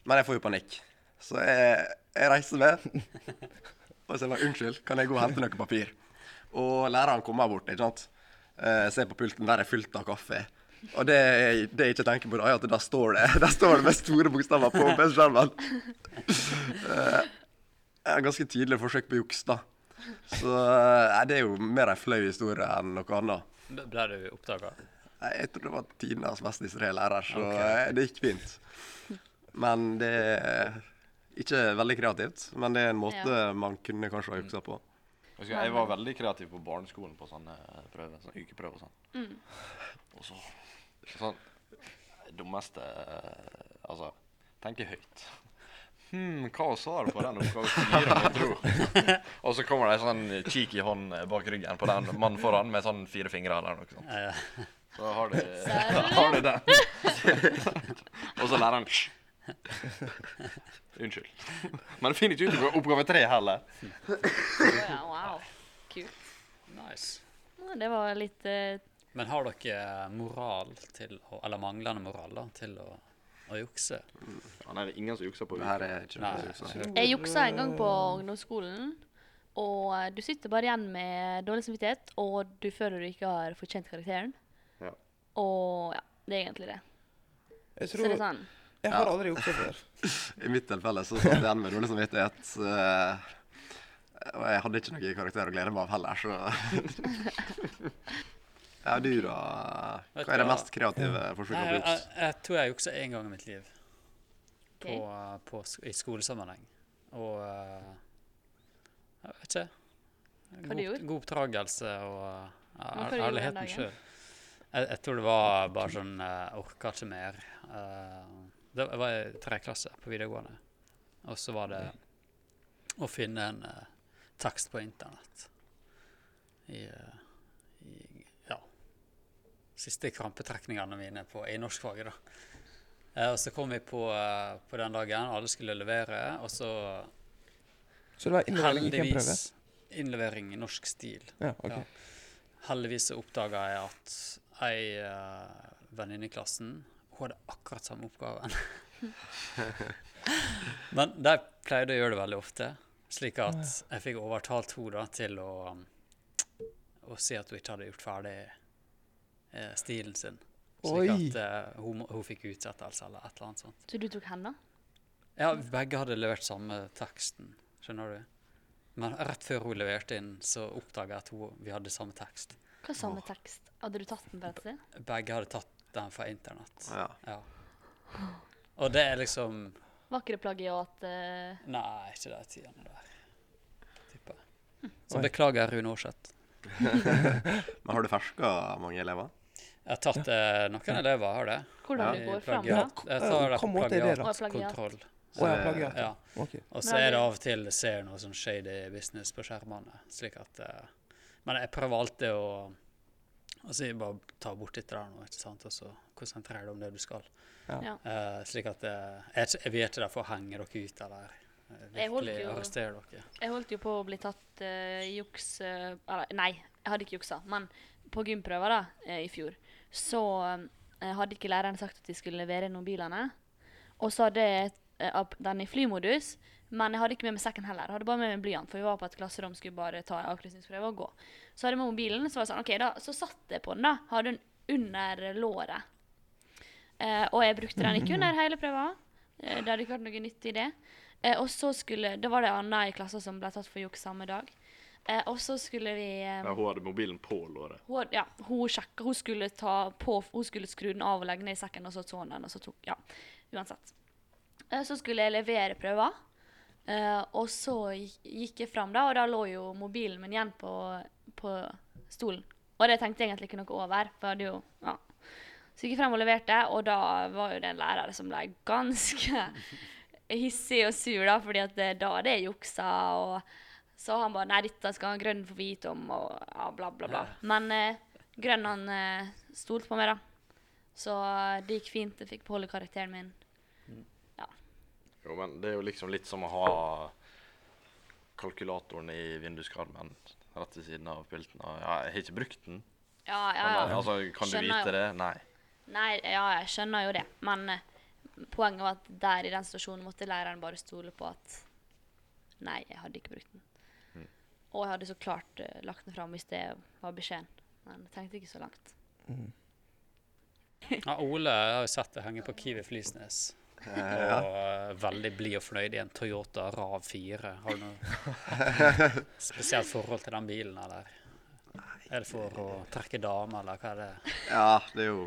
S5: men jeg får jo panikk. Så jeg, jeg reiser meg. Og så jeg bare unnskyld, kan jeg gå og hente noe papir? Og læreren kommer bort, ikke sant. Eh, ser på pulten, der er fullt av kaffe. Og det, jeg- det jeg ikke tenker på, da, er at der står det der står det med store bokstaver på PC-skjermen. Eh, ganske tydelig forsøk på juks, da. Så eh, det er jo mer en flau historie enn noe annet.
S3: B- Ble du oppdaga?
S5: Nei, Jeg tror det var Tinas mest distré lærer, så
S3: Ok.
S5: eh, det gikk fint. Men det er ikke veldig kreativt, men det er en måte man kunne kanskje ha juksa på.
S4: Jeg, husker, jeg var veldig kreativ på barneskolen på sånne eh, prøver. Sånne ukeprøver og sånn. Og så sånn Dummeste eh, Altså, tenke høyt. Hm, hva var svaret på den oppgaven fire, må jeg tro? Og så kommer det en sånn cheeky hånd bak ryggen på den mannen foran med sånn fire fingre eller noe sånt.
S3: Ja.
S4: Så har du, har du den. Og så læreren «Hysj». Unnskyld. Men du finner ikke ut oppgave- oppgave tre heller.
S6: Å ja, wow. Kult.
S3: Nice.
S6: Ja, det var litt eh,
S3: Men har dere moral til å Eller manglende moral, da, til å, å jukse?
S4: Ja, nei, det er ingen som jukser på
S5: Det her er sånn. ikke
S3: Nei.
S5: noe juksa.
S6: Jeg juksa en gang på ungdomsskolen, og eh, du sitter bare igjen med dårlig samvittighet, og du føler du ikke har fortjent karakteren.
S4: Ja.
S6: Og ja, det er egentlig det.
S1: Jeg
S6: Så det er
S1: tror
S6: sånn.
S1: Jeg har aldri gjort det før.
S5: I mitt tilfelle så satt jeg igjen med dårlig samvittighet. eh, Og jeg hadde ikke noen karakter å glede meg av heller, så Ja, du da?
S3: Vet
S5: Hva er
S3: du
S5: det
S3: hva?
S5: mest kreative forsøket
S3: Nei, jeg,
S5: på
S3: jeg,
S5: juks?
S3: jeg tror jeg juksa én gang i mitt liv.
S6: Ok.
S3: På, på, sk- I skolesammenheng. Og eh, Jeg vet ikke.
S6: Hva du gjorde?
S3: god oppdragelse og eh,
S6: hva du gjorde den
S3: ærligheten
S6: dagen?
S3: sjøl. Jeg, jeg tror det var bare sånn uh, Orka ikke mer. Eh, det var i tredje klasse på videregående. Og så var det å finne en eh, tekst på internett. I, eh, i ja, siste krampetrekningene mine på, i norskfaget, da. Eh, og så kom vi på, eh, på den dagen alle skulle levere, og så
S1: Så det var innledning, ikke en prøve.
S3: heldigvis innlevering i norsk stil.
S1: Ja, ok.
S3: Ja. Heldigvis så oppdaga jeg at ei eh, venninne i klassen hun hadde akkurat samme oppgaven. Men de pleide å gjøre det veldig ofte, slik at jeg fikk overtalt henne da til å, å si at hun ikke hadde gjort ferdig eh, stilen sin. Slik
S1: Oi.
S3: at eh, hun, må- hun fikk utsettelse eller et eller annet sånt.
S2: Så du tok henne?
S3: Ja, begge hadde levert samme teksten, skjønner du. Men rett før hun leverte inn, så oppdaga jeg at hun, vi hadde samme tekst.
S2: Hva samme tekst? Hadde du tatt den på et sted?
S3: Begge hadde tatt den fra internett.
S5: Ja.
S3: Ja. Og det er liksom
S2: Var ikke det plagiat eh,
S3: Nei, ikke de tidene der. Tipper jeg.
S1: Oi.
S3: Så beklager, Rune Aarseth.
S5: Men har du ferska mange elever?
S3: Jeg har tatt eh, noen elever, har det.
S2: Hvordan
S5: Ja.
S2: du
S3: i
S2: går fram da?
S1: Ja,
S3: plagiat. Jeg tar det
S1: hva
S3: på
S1: måte er det da?
S2: Å, plagiat.
S3: plagiatkontroll.
S1: Å ja, plagiat.
S3: Ja.
S1: Ok.
S3: Og
S2: Men
S3: så
S2: har
S3: er det
S2: du-
S3: av og til jeg ser noe sånn shady business på skjermene. slik at... eh, men jeg prøver alltid å å si bare ta bort litt der nå, ikke sant? og så konsentrere deg om det du skal.
S1: Ja.
S2: Ja.
S3: Eh, slik at eh, jeg, er ikke- jeg vet ikke derfor henge dere ut eller eh,
S2: Jeg holdt
S3: virkelig
S2: jo-
S3: arrestere dere.
S2: Jeg holdt jo på å bli tatt eh, i juks eh, Eller nei, jeg hadde ikke juksa, men på gymprøver da, eh, i fjor, så eh, hadde ikke læreren sagt at de skulle levere inn mobilene. Og så hadde jeg eh, app- den i flymodus, men jeg hadde ikke med meg sekken heller. Jeg hadde bare med meg blyant, for vi var på et klasserom skulle bare ta en avkrysningsprøve og gå. Så hadde jeg med mobilen, så var det sånn, ok, da, så satt jeg på den, da. Hadde den under låret. Eh, og jeg brukte den ikke under hele prøva. Eh, det hadde ikke vært noe nytt i det. Eh, og så skulle Da var det en annen i klassen som ble tatt for juks samme dag. Eh, og så skulle vi eh,
S4: Ja, hun hadde mobilen på låret.
S2: hun, ja, hun sjekka, hun skulle ta på, hun skulle skru den av og legge den i sekken, og så så hun den, og så tok, ja, uansett. Eh, Så skulle jeg levere prøver, eh, og så gikk- gikk jeg frem da, og da lå jo mobilen min igjen på, på stolen. Og det tenkte jeg egentlig ikke noe over, for jeg hadde jo, ja. Så gikk jeg frem og leverte, og da var jo det en lærer som ble ganske hissig og sur da, fordi at det, da hadde jeg juksa, og så han bare, nei, dette skal han grønn få vite om, og ja, bla, bla, bla. Men eh, grønn han eh, stolte på meg da, så eh, det gikk fint, jeg fikk beholde karakteren min.
S4: Jo, men det er jo liksom litt som å ha kalkulatoren i vinduskarmen rett ved siden av pulten. Og ja, jeg har ikke brukt den.
S2: Ja, ja,
S4: Men,
S2: ja.
S4: altså, kan du
S2: Skjønner jo.
S4: vite det? Nei.
S2: Nei, ja, jeg skjønner jo det, men eh, poenget var at der i den situasjonen måtte læreren bare stole på at nei, jeg hadde ikke brukt den. Og jeg hadde så klart eh, lagt den frem hvis det var beskjeden, men jeg tenkte ikke så langt.
S3: Ja, Ole har jo sett det henge på Kiwi Flysnes. Og eh, veldig blid og fornøyd i en Toyota RAV4. Har du noe spesielt forhold til den bilen, eller? Er det for å trekke damer, eller hva er det?
S5: Ja, det er jo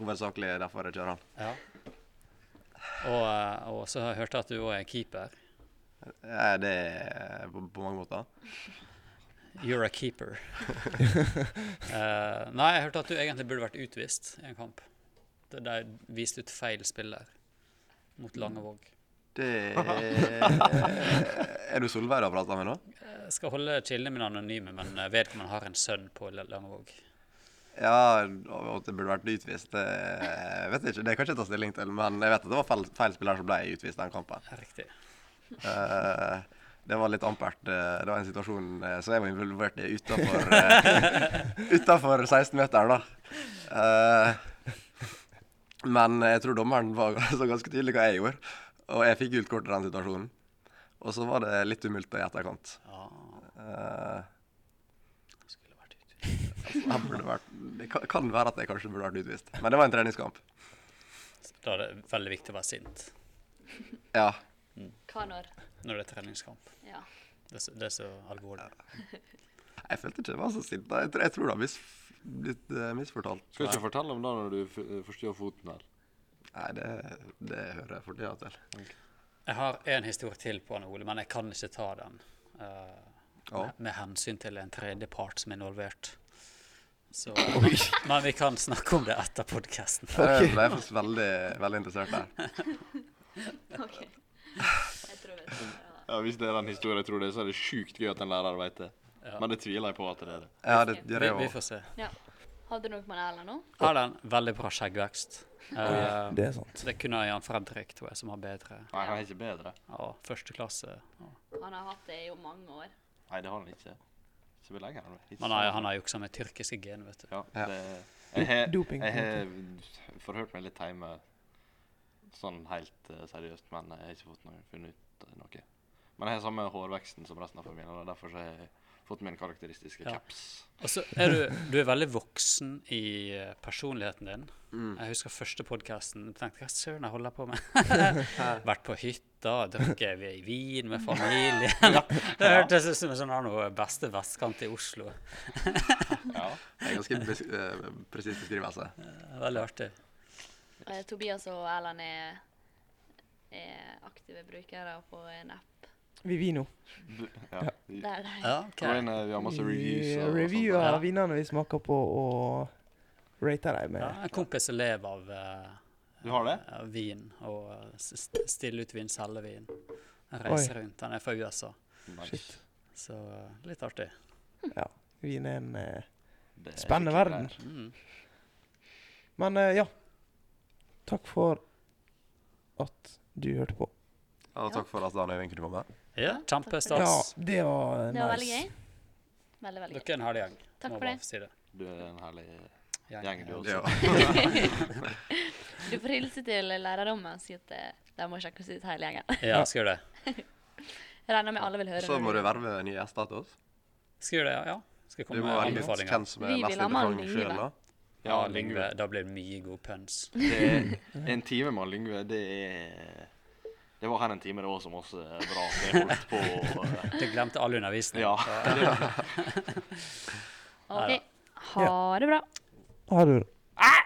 S5: hovedsakelig derfor jeg kjører den.
S3: Ja. Og, eh, og så hørte jeg at du òg er keeper.
S5: Ja, det er på, på mange måter.
S3: You're a keeper. Eh, nei, jeg hørte at du egentlig burde vært utvist i en kamp. Det de viste ut feil spiller mot Langevåg.
S5: Det er Er du Solveig du har prata med nå?
S3: Jeg skal holde kildene mine anonyme, men eh, vedkommende har en sønn på L- Langevåg.
S5: Ja, og at det burde vært utvist, det vet jeg ikke. Det kan jeg ikke ta stilling til, men jeg vet at det var feil, feil spiller som ble utvist den kampen.
S3: Ja, Riktig.
S5: Eh, det var litt ampert. eh, Det var en situasjon eh, som jeg var involvert i utenfor, eh, utenfor 16-meteren, da. Eh, men jeg tror dommeren var så ganske tydelig hva jeg gjorde, og jeg fikk gult kort i den situasjonen. Og så var det litt umulta i etterkant.
S3: Ja,
S5: Eh,
S3: skulle vært ute.
S5: jeg Eh, burde vært, det kan- kan være at jeg kanskje burde vært utvist, men det var en treningskamp.
S3: Da er det veldig viktig å være sint
S5: Ja.
S2: Hva når?
S3: når det er treningskamp.
S2: Ja.
S3: Det er så, det er så alvorlig.
S5: Jeg følte ikke jeg var så sint. da. Jeg, tror- jeg tror det har mis, blitt eh, misfortalt.
S4: Skal ikke fortelle om det når du forstyrrer foten her.
S5: Nei, det, det hører jeg for tida til.
S3: Jeg har en historie til på Anne Ole, men jeg kan ikke ta den. eh,
S5: Ja.
S3: med, med hensyn til en tredjepart som er involvert. Så, men vi kan snakke om det etter podkasten.
S5: Jeg ble faktisk veldig, veldig interessert der.
S2: Ok. Jeg tror det. Ja.
S4: Ja, Hvis det er den historien jeg tror det er, så er det sjukt gøy at en lærer vet det.
S3: Ja.
S4: Men det tviler jeg på at det er det.
S5: Ja, det gjør
S3: Vi,
S5: jeg
S3: vi
S5: òg.
S3: får se.
S2: Ja. Hadde du noe med Erlend nå?
S3: Erlend, veldig bra skjeggvekst. Eh,
S1: Det er sant.
S3: det kunne Jan Fredrik, tror jeg, som har bedre.
S4: Nei, han er ikke bedre.
S3: Ja, første klasse. Ja.
S2: Han har hatt det i jo mange år.
S4: Nei, det har han ikke. Ikke så lenge. Han, ikke
S3: Men han har- han har juksa med tyrkiske gen, vet du.
S4: Ja,
S5: Ja.
S4: det, jeg har,
S1: Doping, på
S4: jeg
S1: en
S4: har forhørt meg litt hjemme, sånn helt eh, seriøst, men jeg har ikke fått noe, funnet ut av noe. Men jeg har samme hårveksten som resten av familien, og derfor så har jeg fått min karakteristiske
S3: Ja.
S4: caps.
S3: Og så er du, du er veldig voksen i eh, personligheten din. Jeg husker første podkasten. tenkte hva søren jeg holder på med? Vært på hytta, drukket vi- vin med familien. Det hørtes ut som en sånn her noe beste vestkant i Oslo.
S4: Ja.
S5: Det er en ganske bes- eh, presis beskrivelse.
S3: Veldig artig.
S6: Eh, Tobias og Erland er, er aktive brukere på en app
S1: Vivino.
S4: ja. Vi,
S6: der de
S3: Ja, ok.
S4: går inn, eh, vi har masse reviews.
S1: Vi
S4: og- og
S1: reviewer
S4: sånt.
S3: Ja.
S1: vinene vi smaker på, og rater dem
S3: Ja,
S1: med
S3: en kompis som lever av eh,
S4: Du har det?
S3: av vin, og eh, s- st- stille ut vin, selge vin. Han reiser rundt. Han er fra USA,
S4: Nice.
S3: så eh, litt artig.
S1: vin er en eh,
S4: Det er
S1: Spennende
S4: skikkelig
S1: verden.
S4: greier.
S3: Mm.
S1: Men eh, ja. Takk for at du hørte på.
S5: Og takk for at Dan Øyvind kunne komme.
S3: Ja,
S1: Ja,
S3: kjempestas.
S1: det
S6: Det var
S1: var nice.
S6: veldig gøy. Veldig, veldig gøy.
S3: Dere er en herlig gjeng.
S6: Takk
S3: må
S6: for
S3: bare
S6: det.
S3: få Si det.
S4: Du er en herlig
S3: Gjeng,
S4: gjeng, du
S3: ja.
S4: også.
S5: Ja.
S6: Du får hilse til lærerrommet og si at eh, de må sjekke oss ut hele gjengen.
S3: Ja, skal gjøre det.
S6: Regner med alle vil høre.
S5: Så
S6: når
S5: må
S6: du-
S5: du verve nye gjester til oss.
S3: Skal gjøre det, ja. ja. Skal
S5: Du
S3: komme
S5: må
S3: med
S5: velge ut
S3: anbefalinger.
S5: hvem som er
S6: Vi vil
S5: mest
S6: ha mann i
S5: interessant sjøl,
S6: livet.
S5: da.
S3: Ja, Lyngve. Da blir det mye god pønns.
S4: Det er en time med Lyngve, det er Det var her en time det var som også er bra. så Jeg holdt på å-
S3: Du glemte all undervisning.
S4: Ja.
S6: OK. Ha det bra.
S1: Ha det.
S7: Ah!